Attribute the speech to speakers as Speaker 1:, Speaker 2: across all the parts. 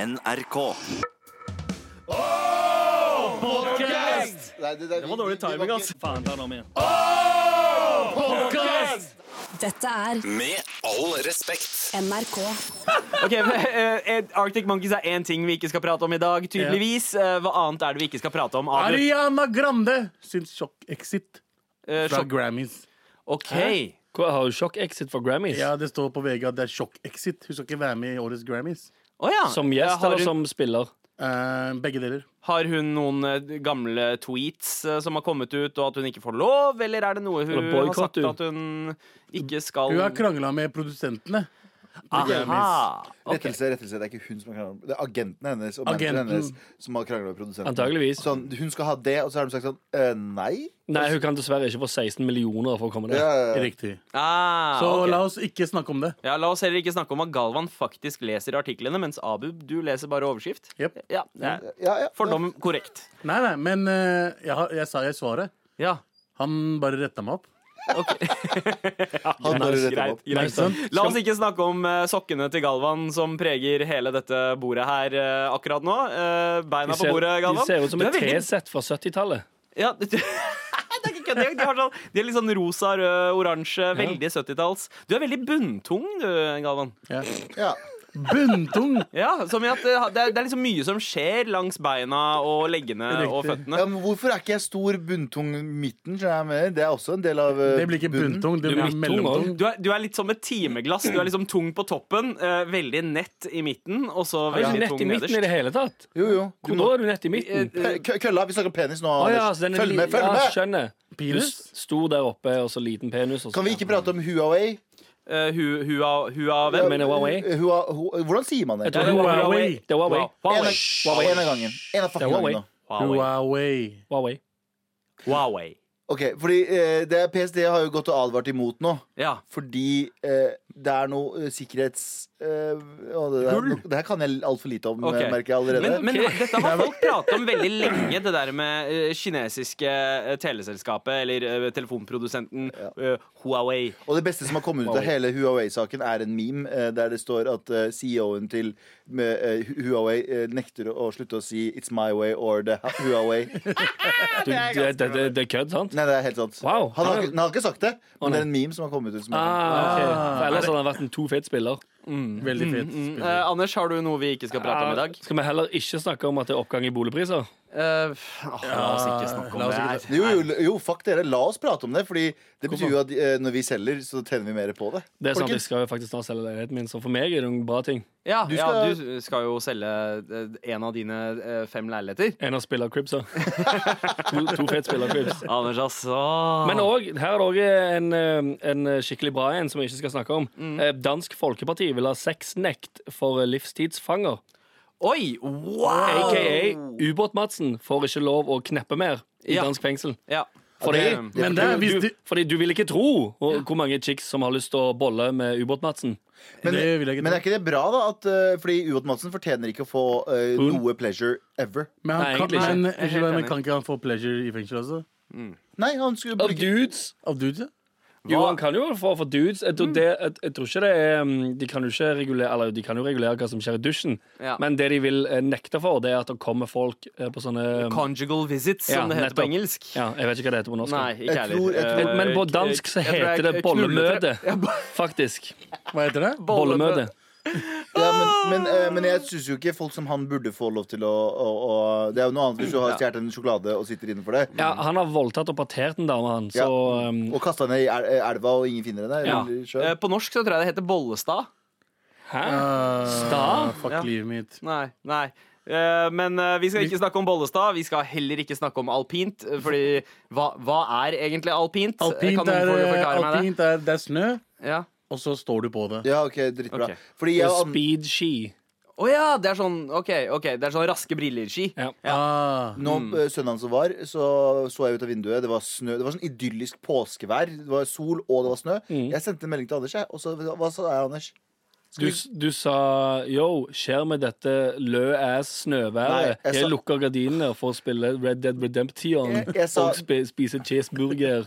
Speaker 1: NRK.
Speaker 2: Nei, det, det,
Speaker 3: Det var dårlig timing, ass. Faen, ta den om igjen.
Speaker 4: Dette er
Speaker 1: Med all respekt.
Speaker 4: NRK.
Speaker 5: Ok, eh, Arctic Monkeys er én ting vi ikke skal prate om i dag, tydeligvis. Eh, Hva annet er det vi ikke skal prate om? Adel?
Speaker 6: Ariana Grande sin sjokk-exit
Speaker 5: Eh,
Speaker 6: fra
Speaker 5: sjokk-
Speaker 6: Grammys.
Speaker 5: OK.
Speaker 3: Hva, har du sjokk-exit for Grammys?
Speaker 6: Ja, Det står på VG at det er sjokk-exit. Hun skal ikke være med i årets Grammys.
Speaker 5: Å ja.
Speaker 3: Som
Speaker 5: Eh,
Speaker 3: gjest altså.
Speaker 5: har,
Speaker 3: eller
Speaker 5: hun,
Speaker 3: som spiller?
Speaker 6: Eh, begge deler.
Speaker 5: har hun noen eh, gamle tweets eh, som har kommet ut, og at hun ikke får lov, eller er det noe hun
Speaker 3: Eller
Speaker 5: har
Speaker 3: boykott,
Speaker 5: sagt
Speaker 3: du.
Speaker 5: at hun ikke skal
Speaker 6: Hun har krangla med produsentene.
Speaker 5: Aha. ok.
Speaker 2: Rettelse, rettelse. Det er ikke hun som har krangla. Det er agentene hennes og
Speaker 6: Agenten.
Speaker 2: manageren hennes som har krangla med produsenten.
Speaker 3: Antageligvis.
Speaker 2: Sånn, hun skal ha det, og så har de sagt sånn eh, nei.
Speaker 3: Nei, hun kan dessverre ikke få 16 millioner for å komme der.
Speaker 2: Ja, Eh. ja.
Speaker 6: Riktig.
Speaker 5: Ah,
Speaker 6: Så
Speaker 5: ok.
Speaker 6: la oss ikke snakke om det.
Speaker 5: Ja, La oss heller ikke snakke om at Galvan faktisk leser artiklene, mens Abub, du leser bare overskrift.
Speaker 6: Jep.
Speaker 5: Ja, det er
Speaker 2: Ja, ja.
Speaker 5: Fordom korrekt.
Speaker 6: Nei, nei, men eh, jeg, har- jeg sa jeg svaret.
Speaker 5: Ja.
Speaker 6: Han bare retta meg opp.
Speaker 2: Han bare retter meg
Speaker 5: Greit,
Speaker 2: opp.
Speaker 5: greit. La oss ikke snakke om eh, sokkene til Galvan som preger hele dette bordet her eh, akkurat nå. Eh,
Speaker 3: De
Speaker 5: beina på
Speaker 3: ser,
Speaker 5: bordet,
Speaker 3: de
Speaker 5: Galvan.
Speaker 3: ser ut som
Speaker 5: Du
Speaker 3: et
Speaker 5: er veldig-
Speaker 3: T-sett fra 70-tallet.
Speaker 5: Ja, det det er ikke kødd engang. De, har sånn, de er litt sånn rosa, rød, oransje. Veldig 70-talls. Du er veldig bunntung, du, Galvan.
Speaker 6: Ja.
Speaker 2: Ja.
Speaker 6: Bunntung!
Speaker 5: Ja, som i at eh, det er, det er liksom mye som skjer langs beina og leggene og
Speaker 6: Riktig.
Speaker 5: føttene.
Speaker 2: Ja, men hvorfor er ikke jeg stor bunntung midten? skjønner jeg hva jeg mener? Det er også en del av eh,
Speaker 6: Det blir ikke
Speaker 2: bunnen.
Speaker 6: bunntung, det
Speaker 3: Du er
Speaker 6: blir
Speaker 3: midttung
Speaker 6: mellomtung.
Speaker 5: Du er, du er litt som et timeglass. Du er liksom tung på toppen, eh, veldig nett i midten, og så
Speaker 3: Er du
Speaker 5: veldig
Speaker 3: nett
Speaker 5: tung
Speaker 3: i midten i det
Speaker 5: nederst. Eh,
Speaker 3: hele tatt?
Speaker 2: Jo, jo.
Speaker 3: Hvor da er du nett i midten?
Speaker 2: Kø- kø- Kølla, vi snakker om penis nå.
Speaker 3: Å ja,
Speaker 2: Anders.
Speaker 3: så den er
Speaker 2: følg
Speaker 3: li-
Speaker 2: med, følg
Speaker 3: ja,
Speaker 2: med!
Speaker 3: Skjønner. Du
Speaker 6: Penis?
Speaker 3: s- Stor der oppe, og så liten penis. og så-
Speaker 2: Kan vi ikke prate om Huawei?
Speaker 5: Eh, hu, hua, hua, hvem?
Speaker 3: mener Huawei.
Speaker 2: Eh, Hua, Hu- hvordan sier man det?
Speaker 3: Jeg tror det er
Speaker 6: Huawei.
Speaker 3: Huawei. Det er Huawei.
Speaker 5: Wow.
Speaker 2: En
Speaker 5: Huawei.
Speaker 2: av, en av gangen. En av
Speaker 3: Det er
Speaker 2: fucking
Speaker 3: Huawei.
Speaker 2: gangen nå.
Speaker 5: Huawei.
Speaker 6: Huawei.
Speaker 3: Huawei.
Speaker 5: Huawei.
Speaker 2: Ok, fordi eh, det er PST har jo gått og advart imot nå.
Speaker 5: Ja.
Speaker 2: Fordi eh, det er noe eh, sikkerhets... Eh, å, det, der,
Speaker 5: Hull.
Speaker 2: det her kan jeg altfor lite om,
Speaker 5: Ok.
Speaker 2: eh, merker jeg allerede.
Speaker 5: Men, men dette har folk pratet om veldig lenge, det der med eh, kinesiske eh, teleselskapet, eller eh, telefonprodusenten eh, Huawei.
Speaker 2: og det beste som har kommet ut av hele Huawei-saken, er en meme eh, der det står at eh, CEO-en til med, eh, Hu- Huawei eh, nekter å slutte å si 'It's my way' or 'the Hu- Huawei'.
Speaker 3: Du, det, det, det, det er kødd, sant?
Speaker 2: Nei, det er helt sant.
Speaker 3: Wow.
Speaker 2: Han, har, ikke- han har ikke sagt det, men det er
Speaker 3: nei.
Speaker 2: en meme som har kommet ut. Som er sånn.
Speaker 3: Ah, ok. For ellers hadde han vært en to fet spiller.
Speaker 6: Veldig fet.
Speaker 5: Eh,
Speaker 6: spiller.
Speaker 5: Anders, har du noe vi ikke skal prate om i dag?
Speaker 3: Skal vi heller ikke snakke om at det er oppgang i boligpriser?
Speaker 5: Eh, åh, la oss ikke snakke om
Speaker 6: la oss
Speaker 5: det
Speaker 6: ikke
Speaker 5: her.
Speaker 2: Jo, jo, jo, fuck dere. La oss prate om det. Fordi det betyr jo at eh, når vi selger, så tjener vi mer på det.
Speaker 3: Det er sant, Jeg
Speaker 2: Folkens,
Speaker 3: skal jo faktisk snart selge leiligheten min, så for meg er det en bra ting.
Speaker 5: Ja,
Speaker 2: Du
Speaker 5: ja,
Speaker 2: skal-
Speaker 5: du skal jo selge eh, en av dine eh, fem leiligheter.
Speaker 3: En av spillercribsa. To, to fet spillercribs.
Speaker 5: Anders, altså.
Speaker 3: Men òg, her er òg en, eh, en skikkelig bra en som vi ikke skal snakke om. Eh, Dansk Folkeparti vil ha sexnekt for livstidsfanger.
Speaker 5: Oi! Wow!
Speaker 3: AKA Ubåt-Madsen får ikke lov å kneppe mer i
Speaker 5: Ja.
Speaker 3: dansk fengsel.
Speaker 5: Ja.
Speaker 3: Fordi,
Speaker 5: det-
Speaker 6: Men det er hvis
Speaker 3: du,
Speaker 6: du
Speaker 3: fordi du vil ikke tro hvor hvor mange chicks som har lyst til å bolle med Ubåt-Madsen.
Speaker 2: men,
Speaker 6: Det vil jeg ikke
Speaker 2: men
Speaker 6: tro.
Speaker 2: er ikke det bra, da? At, eh, fordi Uot Madsen fortjener ikke å få eh,
Speaker 3: Hun.
Speaker 2: noe pleasure ever.
Speaker 6: Men,
Speaker 3: Nei,
Speaker 6: han kan,
Speaker 3: egentlig ikke.
Speaker 6: men,
Speaker 5: Jeg er helt
Speaker 6: unnskyld meg, men
Speaker 5: enig.
Speaker 6: kan ikke han få pleasure i fengsel også?
Speaker 2: Nei, han skulle
Speaker 3: Av
Speaker 2: burde ikke
Speaker 3: dudes
Speaker 6: Av dudes, ja?
Speaker 3: Jo, han kan jo få for dudes. Jeg
Speaker 5: Mm.
Speaker 3: tror, det, jeg, jeg tror ikke det er um, De kan jo ikke regulere Eller de kan jo regulere hva som skjer i dusjen,
Speaker 5: Ja.
Speaker 3: men det de vil eh, nekte for, det er at det kommer folk eh, på sånne um,
Speaker 5: Conjugal visits,
Speaker 3: Ja,
Speaker 5: som det heter
Speaker 3: nettopp.
Speaker 5: på engelsk.
Speaker 3: Ja, Jeg vet ikke hva det heter på norsk.
Speaker 5: Nei, ikke
Speaker 2: Jeg
Speaker 5: heller.
Speaker 2: tror- jeg tror-
Speaker 5: Eh,
Speaker 3: Men på dansk så
Speaker 5: jeg tror jeg
Speaker 3: heter
Speaker 5: knullet-
Speaker 3: det bollemøte,
Speaker 5: Ja, bo-
Speaker 3: faktisk.
Speaker 6: Hva heter det?
Speaker 3: Bollemøte.
Speaker 2: ja, men, men, eh, men jeg syns jo ikke folk som han burde få lov til å, å, å Det er jo noe annet hvis du har stjålet en sjokolade og sitter innenfor det.
Speaker 3: Ja, han har voldtatt og partert en dame, han, så um,
Speaker 2: Og kasta ned i el- eh, elva, og ingen finner det.
Speaker 3: Ja.
Speaker 2: Eller, i sjøen.
Speaker 5: Eh, På norsk så tror jeg det heter bollestad.
Speaker 3: Hæ?
Speaker 6: Ah,
Speaker 3: Sta?
Speaker 6: fuck
Speaker 5: Ja.
Speaker 6: livet mitt.
Speaker 5: Nei, nei. Eh, Men eh, vi skal ikke snakke om Bollestad. Vi skal heller ikke snakke om alpint. eh, Fordi hva, hva er egentlig alpint?
Speaker 6: Alpint
Speaker 5: kan
Speaker 6: er,
Speaker 5: noen for-
Speaker 6: eh,
Speaker 5: forklare meg det?
Speaker 6: alpint er, det er snø,
Speaker 5: Ja.
Speaker 6: og så står du på det.
Speaker 2: Ja, ok, drittbra.
Speaker 5: Ok.
Speaker 2: Fordi jeg og An-
Speaker 3: Eh, Speed ski.
Speaker 5: Å ja, det er sånn OK, ok, det er sånn raske briller-ski.
Speaker 3: Ja.
Speaker 6: Ah,
Speaker 2: Nå
Speaker 3: mm.
Speaker 2: eh, søndagen som var, så så jeg ut av vinduet. Det var snø, det var sånn idyllisk påskevær. Det var sol, og det var snø.
Speaker 3: Mm.
Speaker 2: Jeg sendte en melding til Anders, jeg. Og så hva sa jeg, Anders?
Speaker 3: Du, du sa yo, skjer med dette lø-ass snøværet?
Speaker 2: Nei, jeg
Speaker 3: Jeg,
Speaker 2: sa-
Speaker 3: lukker gardinene for å spille Red Dead Redemption
Speaker 2: Jeg- jeg sa-
Speaker 3: og spi, spise cheeseburger.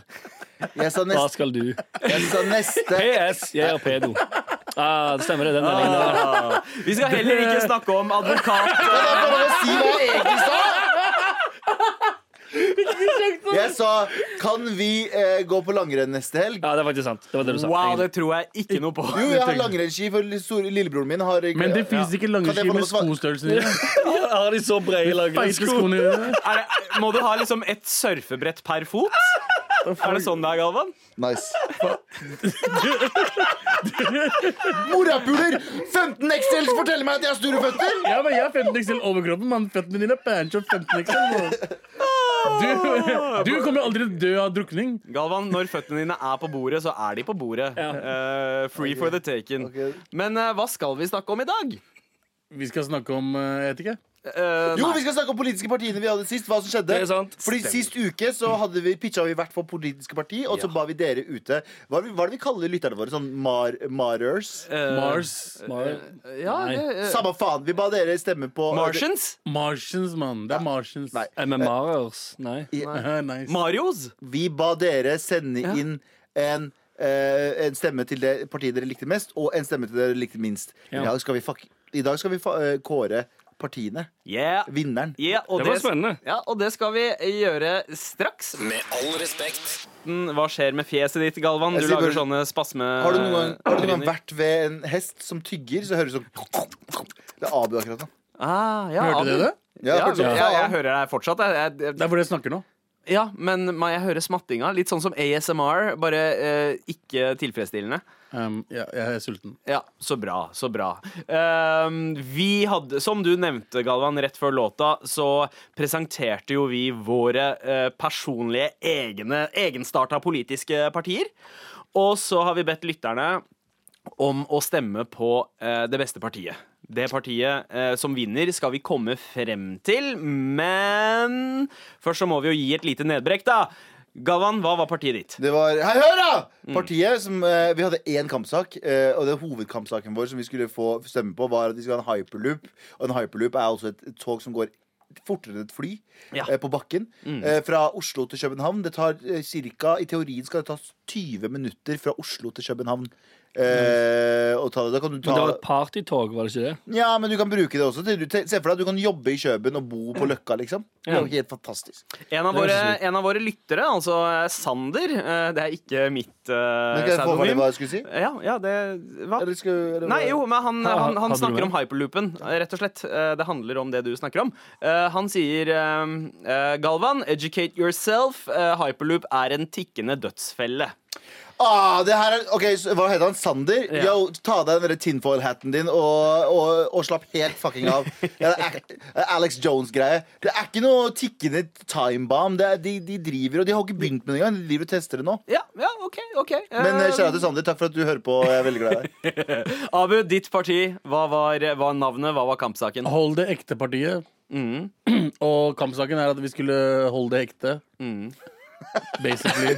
Speaker 2: Jeg sa,
Speaker 3: Hva
Speaker 2: nest,
Speaker 3: skal du?
Speaker 2: jeg sa neste.
Speaker 3: PS, jeg er pedo. Ah, det stemmer det. Den meldingen der.
Speaker 5: Vi skal heller ikke snakke om advokat.
Speaker 2: Kan jeg få lov å si hva jeg egentlig sa? Jeg sa Kan vi eh, gå på langrenn neste helg?
Speaker 3: Ja, det er faktisk sant. Det var det du sa.
Speaker 5: Wow,
Speaker 3: Altså, egentlig.
Speaker 5: det tror jeg ikke noe på.
Speaker 2: Jo, jeg har langrennsski, for lille- store- lillebroren min har
Speaker 6: Men det fins ikke lange
Speaker 2: Kan jeg
Speaker 6: ski
Speaker 2: få
Speaker 6: med
Speaker 2: lov å svare?
Speaker 6: skostørrelsen din.
Speaker 3: Har de så brede
Speaker 6: Feite
Speaker 3: langrennssko?
Speaker 6: skoene dine.
Speaker 5: Er det, må du ha liksom et surfebrett per fot? Er det sånn det er, Galvan?
Speaker 2: Nice. Morapuler! 15 XL forteller meg at jeg har store føtter!
Speaker 6: Ja, men jeg liksom har 15 XL overkroppen, mann. Føttene dine er pancho 15 XL.
Speaker 2: Ah.
Speaker 6: Du, du kommer aldri til å dø av drukning.
Speaker 5: Galvan, når føttene dine er på bordet, så er de på bordet. Eh, free for the taken.
Speaker 2: Ok.
Speaker 5: Men eh, hva skal vi snakke om i dag?
Speaker 6: Vi skal snakke om eh, Jeg vet ikke.
Speaker 5: Eh,
Speaker 2: Jo,
Speaker 5: nei.
Speaker 2: vi skal snakke om politiske partiene vi hadde sist. Hva som skjedde
Speaker 3: Det er sant.
Speaker 2: Fordi Sist uke så hadde vi pitcha vi hvert for politiske parti, og så ba vi dere ute. Hva er det vi, hva er det vi kaller lytterne våre? Sånn mar marers?
Speaker 5: Eh,
Speaker 6: Mars.
Speaker 5: ja,
Speaker 3: Nei.
Speaker 5: det, eh,
Speaker 2: Samme faen. Vi ba dere stemme på
Speaker 5: Martians?
Speaker 6: Martians, mann. Det er Martians.
Speaker 2: Nei.
Speaker 3: MMA-ers? Nei.
Speaker 6: nice.
Speaker 5: Marios?
Speaker 2: Vi ba dere sende inn en eh, en stemme til det partiet dere likte mest, og en stemme til det dere likte minst.
Speaker 3: Ja.
Speaker 2: I dag skal vi, fuck, i dag skal vi fa eh, kåre partiene.
Speaker 5: Yeah.
Speaker 2: Vinneren.
Speaker 5: Yeah, og
Speaker 3: Det var spennende.
Speaker 5: Ja, og det skal vi gjøre straks.
Speaker 1: Med all respekt.
Speaker 5: Hva skjer med fjeset ditt, Galvan? Du
Speaker 2: Jeg sier
Speaker 5: lager
Speaker 2: bare-
Speaker 5: sånne spasme...
Speaker 2: Har du noen gang, har du
Speaker 5: eh,
Speaker 2: noen gang vært ved en hest som tygger, så hører du sånn Det er Abu akkurat nå.
Speaker 5: Ah, ja,
Speaker 6: Hørte dere det?
Speaker 2: Ja,
Speaker 5: Ja,
Speaker 2: fortsatt.
Speaker 5: jeg, jeg hører deg fortsatt. Jeg, jeg,
Speaker 6: Det er hvor jeg snakker nå.
Speaker 5: Ja, men ma- jeg hører smattinga. Litt sånn som ASMR, bare eh, ikke tilfredsstillende.
Speaker 6: Um, ja, jeg er sulten.
Speaker 5: Ja, så bra, så bra. Ehm, vi hadde, som du nevnte, Galvan, rett før låta, så presenterte jo vi våre eh, personlige egne, egenstarta politiske partier. Og så har vi bedt lytterne om å stemme på eh, det beste partiet. Det partiet eh, som vinner, skal vi komme frem til, men først så må vi jo gi et lite nedbrekk, da. Galvan, hva var partiet ditt?
Speaker 2: Det var Hei, hør, da! Partiet som eh, Vi hadde én kampsak, eh, og den hovedkampsaken vår som vi skulle få stemme på, var at vi skulle ha en hyperloop. Og en hyperloop er altså et tog som går fortere enn et fly
Speaker 5: Ja.
Speaker 2: eh, på bakken. Eh, fra Oslo til København. Det tar eh, cirka, I teorien skal det ta 20 minutter fra Oslo til København. Eh, og ta det. Da kan du ta
Speaker 3: Men det var et partytog, var det ikke det?
Speaker 2: Ja, men du kan bruke det også. Til, du, se for deg at du kan jobbe i Kjøben og bo på Løkka, liksom. Det er jo helt fantastisk.
Speaker 5: En av, våre, en av våre lyttere, altså eh, Sander eh, Det er ikke mitt
Speaker 2: Men
Speaker 5: uh,
Speaker 2: kan jeg få hva det var jeg skulle si?
Speaker 5: Ja, ja, det Hva?
Speaker 2: Eller skal, eller
Speaker 5: Nei,
Speaker 2: hva-
Speaker 5: jo, men han,
Speaker 3: Ha-
Speaker 5: han, han
Speaker 3: hadde du
Speaker 5: snakker
Speaker 3: mer?
Speaker 5: om hyperloopen, eh, rett og slett. Eh, Det handler om det du snakker om. Eh, Han sier eh, eh, Galvan, educate yourself. Eh, Hyperloop er en tikkende dødsfelle.
Speaker 2: Ah, det her er, ok, så, Hva heter han? Sander?
Speaker 5: Ja.
Speaker 2: Yo, ta av deg den derre tinfoil-hatten din og, og, og slapp helt fucking av. Ja, det er, det er Alex Jones-greie. Det er ikke noe tikkende timebomb. Det er- De, de driver og De har ikke begynt med det engang. De driver og tester det nå.
Speaker 5: Ja, ja, OK. ok Eh,
Speaker 2: Men eh, kjære til Sander, takk for at du hører på. Jeg er veldig glad i deg.
Speaker 5: Abu, ditt parti. Hva var, var navnet? Hva var kampsaken?
Speaker 6: Hold det ekte partiet.
Speaker 5: Mm.
Speaker 6: Og kampsaken er at vi skulle holde det ekte.
Speaker 5: Mm.
Speaker 6: Basically.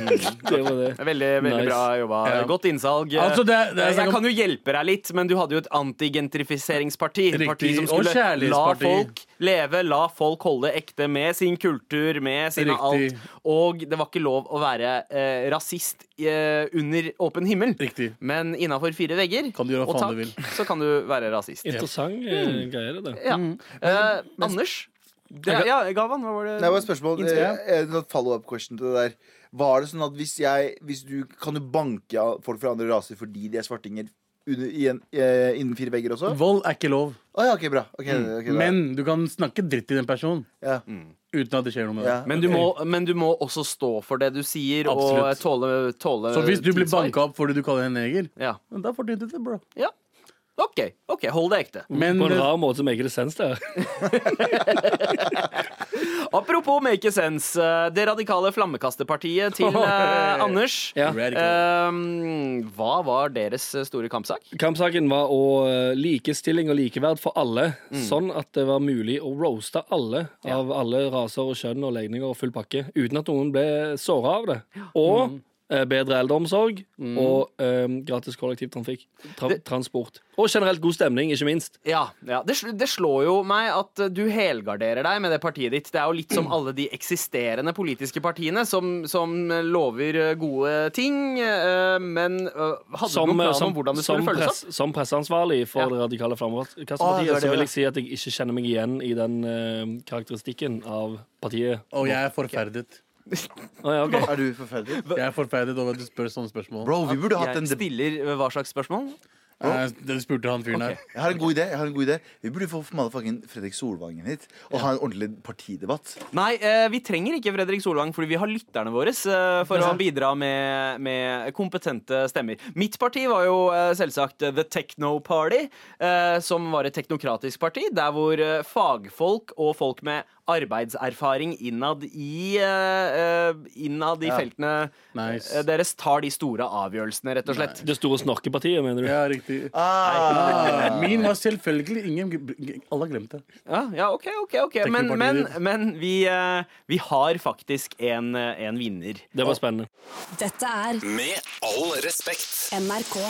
Speaker 3: Det var det.
Speaker 5: Veldig veldig
Speaker 3: Nice.
Speaker 5: bra jobba.
Speaker 6: Ja.
Speaker 5: Godt innsalg.
Speaker 6: Altså, det er- det er
Speaker 5: jeg
Speaker 6: snakk
Speaker 5: kan
Speaker 6: om-
Speaker 5: jo hjelpe deg litt, men du hadde jo et antigentrifiseringsparti. Et
Speaker 6: Riktig,
Speaker 5: Parti som skulle
Speaker 6: og
Speaker 5: la
Speaker 6: kjærlighetsparti.
Speaker 5: folk leve, la folk holde ekte med sin kultur, med sine
Speaker 6: Riktig.
Speaker 5: alt. Og det var ikke lov å være eh, rasist eh, under åpen himmel.
Speaker 6: Riktig.
Speaker 5: Men innafor fire vegger
Speaker 6: Kan du gjøre hva
Speaker 5: og
Speaker 6: faen
Speaker 5: tak,
Speaker 6: du vil.
Speaker 5: så kan du være rasist.
Speaker 3: Interessant eh, greie, det der.
Speaker 5: Ja. Eh, Anders? Det, ja, Galvan, hva var det?
Speaker 2: Det var et spørsmål.
Speaker 5: Innspill, ja.
Speaker 2: eh, En follow-up question til det der. Var det sånn at hvis jeg hvis du, Kan du banke av folk fra andre raser fordi de er svartinger under, i en, eh, innen fire vegger også? Å
Speaker 6: Vold er ikke lov.
Speaker 2: ja, OK, bra. Ok, ok, da.
Speaker 6: Men du kan snakke dritt til den personen
Speaker 2: ja.
Speaker 6: uten at det skjer noe med
Speaker 2: Ja.
Speaker 6: deg.
Speaker 5: Men du, må, men du må også stå for det du sier, og
Speaker 6: Absolutt.
Speaker 5: tåle, tåle
Speaker 6: Så hvis du blir
Speaker 5: tilsvar.
Speaker 6: banka opp fordi du kaller henne neger,
Speaker 5: Ja.
Speaker 6: da fortjente du det, bro.
Speaker 5: ja. OK, ok, hold det ekte.
Speaker 6: Men
Speaker 3: På en
Speaker 6: det-
Speaker 3: rar måte som ikke det sens der.
Speaker 5: Apropos make sense. eh, Det radikale flammekasterpartiet til eh, Anders.
Speaker 3: Ja.
Speaker 5: Ehm, hva var deres eh, store kampsak?
Speaker 3: Kampsaken var å eh, likestilling og likeverd for alle,
Speaker 5: Mm.
Speaker 3: sånn at det var mulig å roaste alle
Speaker 5: Mm.
Speaker 3: av alle raser og kjønn og legninger og full pakke, uten at noen ble såra av det. Og eh, bedre eldreomsorg og eh, gratis kollektivtrafikk. Tra
Speaker 5: Det-
Speaker 3: transport. Og generelt god stemning, ikke minst.
Speaker 5: Ja, ja. Det, sl- det slår jo meg at eh, du helgarderer deg med det partiet ditt. Det er jo litt som alle de eksisterende politiske partiene som, som eh, lover eh, gode ting, eh, men eh, hadde du noen plan om hvordan det skulle
Speaker 3: som
Speaker 5: følges opp?
Speaker 3: press- som presseansvarlig for
Speaker 5: Ja.
Speaker 3: det
Speaker 5: Å,
Speaker 3: radikale
Speaker 5: det
Speaker 3: Framkastpartiet
Speaker 5: var det,
Speaker 3: så
Speaker 5: ja.
Speaker 3: vil jeg si at jeg ikke kjenner meg igjen i den eh, karakteristikken av partiet.
Speaker 6: Og jeg er forferdet.
Speaker 3: Å, ja, ok.
Speaker 2: Er du forferdelig?
Speaker 6: Jeg er forferdet over at du spør sånne spørsmål.
Speaker 2: Bro, vi burde hatt en
Speaker 5: Jeg
Speaker 2: debatt.
Speaker 5: stiller eh, hva slags spørsmål?
Speaker 6: Eh, Det spurte han fyren her.
Speaker 2: Jeg har en god idé. jeg har en god idé Vi burde få motherfucking Fredrik Solvangen hit og ha en ordentlig partidebatt.
Speaker 5: Nei, eh, vi trenger ikke Fredrik Solvang, fordi vi har lytterne våre eh, for å bidra med, med kompetente stemmer. Mitt parti var jo eh, selvsagt The Techno Party, eh, som var et teknokratisk parti, der hvor eh, fagfolk og folk med arbeidserfaring innad i, eh, eh, innad i
Speaker 2: Ja.
Speaker 5: feltene
Speaker 6: Nice.
Speaker 5: eh, deres tar de store avgjørelsene, rett og slett.
Speaker 3: Det store snorkepartiet, mener du?
Speaker 6: Ja, riktig.
Speaker 2: Ah.
Speaker 6: Min var selvfølgelig ingen Alle har glemt det.
Speaker 5: Ja, ja OK, OK. ok Men, men,
Speaker 6: Teknopartiet.
Speaker 5: men vi, eh, vi har faktisk en, eh, en vinner.
Speaker 3: Det var spennende.
Speaker 4: Dette er
Speaker 1: Med all respekt.
Speaker 4: NRK.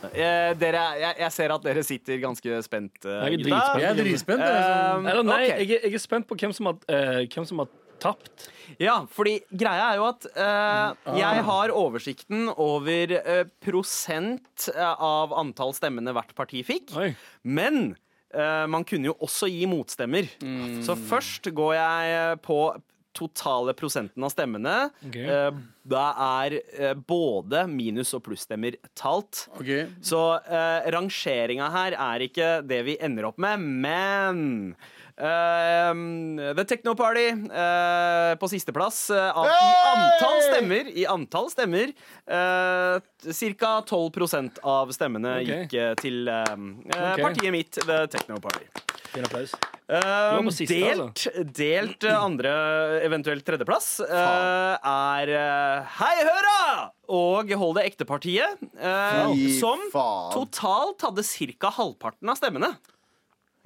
Speaker 5: Eh, dere, jeg, jeg ser at dere sitter ganske spent. eh,
Speaker 3: Jeg er
Speaker 5: gutta.
Speaker 3: dritspent.
Speaker 6: Jeg er dritspent. jeg, altså.
Speaker 5: Um,
Speaker 3: Eller nei,
Speaker 5: ok.
Speaker 3: jeg, er- jeg er spent på hvem som har, eh, hvem som har tapt.
Speaker 5: Ja, fordi greia er jo at
Speaker 3: Mm.
Speaker 5: eh,
Speaker 3: Ah.
Speaker 5: jeg har oversikten over eh, prosent eh, av antall stemmene hvert parti fikk.
Speaker 3: Oi.
Speaker 5: Men eh, man kunne jo også gi motstemmer. Så først går jeg eh, på totale prosenten av stemmene.
Speaker 3: Ok.
Speaker 5: Eh, da er eh, både minus- og plusstemmer talt.
Speaker 6: Ok,
Speaker 5: Så uh, rangeringa her er ikke det vi ender opp med, men eh, The Techno Party eh, på sisteplass uh, av, i antall stemmer. I antall stemmer eh, Ca. 12 av stemmene
Speaker 3: Ok.
Speaker 5: gikk eh, til eh, eh,
Speaker 3: Ok.
Speaker 5: partiet mitt, The Techno Party.
Speaker 3: Fin applaus.
Speaker 5: Um,
Speaker 3: på siste,
Speaker 5: delt,
Speaker 2: altså.
Speaker 5: delt eh, andre, eventuelt tredjeplass, eh, er eh, Hei Høra! Og Hold det ekte-partiet, eh,
Speaker 2: Fy
Speaker 5: som
Speaker 2: faen.
Speaker 5: totalt hadde ca. halvparten av stemmene.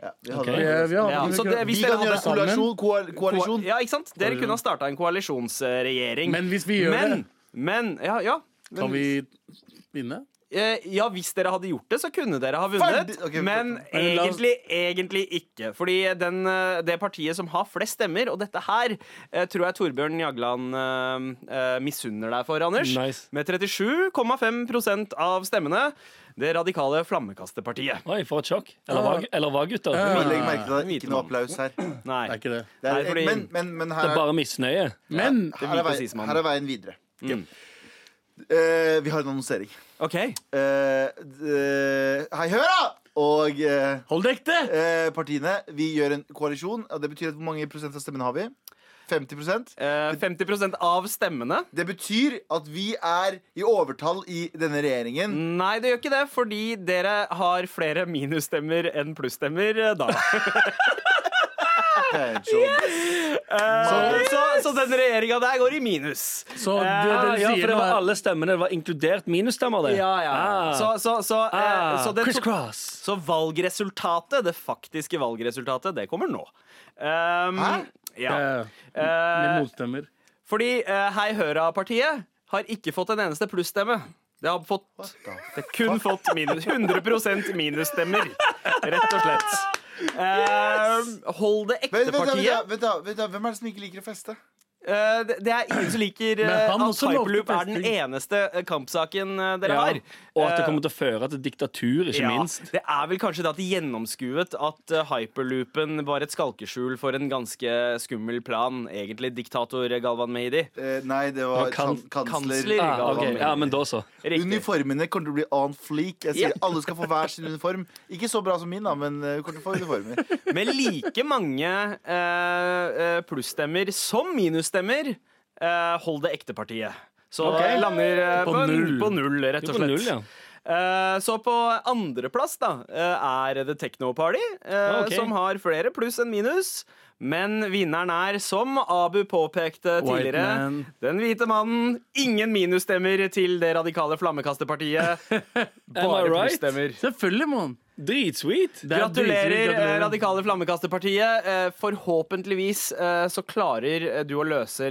Speaker 2: Ja, vi hadde-
Speaker 3: Ok.
Speaker 6: Ja, vi har-
Speaker 5: Ja, så det-
Speaker 2: Vi
Speaker 5: hvis
Speaker 2: kan
Speaker 5: dere
Speaker 2: gjøre
Speaker 5: hadde
Speaker 6: sammen-
Speaker 2: koalisjon. koal- koalisjon.
Speaker 5: Ja, ikke sant? Dere kunne ha starta en koalisjonsregjering.
Speaker 6: Men hvis vi gjør
Speaker 5: men,
Speaker 6: det-
Speaker 5: Men, ja, ja.
Speaker 6: Kan vi vinne?
Speaker 5: Eh, ja, hvis dere hadde gjort det, så kunne dere ha vunnet.
Speaker 2: Ferdig! Ok,
Speaker 5: men
Speaker 6: Men la oss-
Speaker 5: egentlig, egentlig ikke. Fordi den, eh, det partiet som har flest stemmer, og dette her, eh, tror jeg Torbjørn Jagland eh, eh, misunner deg for, Anders.
Speaker 3: Nice.
Speaker 5: Med 37,5 av stemmene. Det radikale flammekasterpartiet.
Speaker 3: Oi, for et sjokk. Eller hva, eller hva gutter?
Speaker 2: Men
Speaker 3: Det
Speaker 2: Legg merke til at det er
Speaker 5: Hvite
Speaker 2: ikke noe
Speaker 5: mann.
Speaker 2: applaus her. Det
Speaker 5: Nei.
Speaker 6: Det er ikke det.
Speaker 2: er,
Speaker 5: Nei, fordi-
Speaker 2: men, men, men her
Speaker 3: er bare misnøye.
Speaker 6: Men
Speaker 2: Her er,
Speaker 5: hvite
Speaker 2: veien,
Speaker 5: sismannen.
Speaker 2: her er veien videre. Eh, vi har en annonsering.
Speaker 5: OK.
Speaker 2: Eh, d- eh, hei, hør, da! Og eh,
Speaker 6: hold det ekte!
Speaker 2: eh, partiene. Vi gjør en koalisjon. Og det betyr at hvor mange prosent av stemmen har vi? 50
Speaker 5: Eh, 50 av stemmene.
Speaker 2: Det betyr at vi er i overtall i denne regjeringen.
Speaker 5: Nei, det gjør ikke det, fordi dere har flere minusstemmer enn plusstemmer eh, da.
Speaker 2: Ah, Eh, Yes!
Speaker 5: Så, så, så den regjeringa der går i minus.
Speaker 6: Så det,
Speaker 5: Eh,
Speaker 6: det
Speaker 3: Ah,
Speaker 6: du
Speaker 3: ja, for
Speaker 6: sier
Speaker 3: det
Speaker 6: nå
Speaker 3: var
Speaker 6: er
Speaker 3: alle stemmene. Det var inkludert minusstemmer, det.
Speaker 5: Ja, ja.
Speaker 3: Ah.
Speaker 5: Så, så, så, eh,
Speaker 3: Ah,
Speaker 5: så, det
Speaker 3: Criss
Speaker 5: to-
Speaker 3: cross.
Speaker 5: så valgresultatet, det faktiske valgresultatet, det kommer nå. Um,
Speaker 2: Hæ?
Speaker 5: Ja.
Speaker 6: Eh,
Speaker 5: Eh,
Speaker 6: Med motstemmer.
Speaker 5: fordi eh, Hei Høra-partiet har ikke fått en eneste plusstemme. Det har fått, det har kun fått minus, 100 minusstemmer, rett og slett. Eh, hold det
Speaker 2: Vent, vent, da, vent, da,
Speaker 5: ekte-partiet.
Speaker 2: vent, da, vent da, Hvem er det som ikke liker å feste?
Speaker 5: Eh, det, det er ingen som liker eh,
Speaker 6: Men han
Speaker 5: at
Speaker 6: også lovte
Speaker 5: hyperloop er den
Speaker 6: festing.
Speaker 5: eneste eh, kampsaken eh, dere
Speaker 3: Ja.
Speaker 5: har.
Speaker 3: Og at det
Speaker 5: Eh,
Speaker 3: kommer til å føre til diktatur, ikke
Speaker 5: ja,
Speaker 3: minst.
Speaker 5: Det er vel kanskje det at de gjennomskuet at eh, hyperloopen var et skalkeskjul for en ganske skummel plan, egentlig, diktator Galvan Mehidi.
Speaker 2: Eh, nei, det var
Speaker 3: Det var kan-
Speaker 2: kan kansler.
Speaker 5: kansler.
Speaker 3: Ah,
Speaker 5: Ja,
Speaker 3: ok.
Speaker 5: men-
Speaker 3: ja, men da så.
Speaker 5: Riktig.
Speaker 2: Uniformene kommer til å bli on fleak. Jeg sier
Speaker 5: Ja.
Speaker 2: Alle skal få hver sin uniform. Ikke så bra som min, da, men eh, vi kommer til å få uniformer.
Speaker 5: Med like mange eh, eh, plusstemmer som minusstemmer, eh, hold det ekte partiet. Så
Speaker 3: Ok.
Speaker 5: det lander eh,
Speaker 6: På
Speaker 5: på, null.
Speaker 6: null.
Speaker 5: på null, rett
Speaker 3: Jo,
Speaker 5: og
Speaker 3: på
Speaker 5: slett.
Speaker 3: null, ja.
Speaker 5: Eh, Så på andreplass da eh, er The Techno Party, eh,
Speaker 3: ok.
Speaker 5: som har flere pluss enn minus. Men vinneren er, som Abu påpekte
Speaker 6: White
Speaker 5: tidligere,
Speaker 6: man.
Speaker 5: den hvite mannen. Ingen minusstemmer til det radikale flammekasterpartiet. Bare
Speaker 3: right?
Speaker 5: plusstemmer.
Speaker 6: Selvfølgelig, mann.
Speaker 3: Dritsweet!
Speaker 6: Det er
Speaker 5: Gratulerer,
Speaker 6: dritsweet,
Speaker 5: eh,
Speaker 6: gratulerer.
Speaker 5: Radikale Flammekasterpartiet. Eh, Forhåpentligvis eh, så klarer eh, du å løse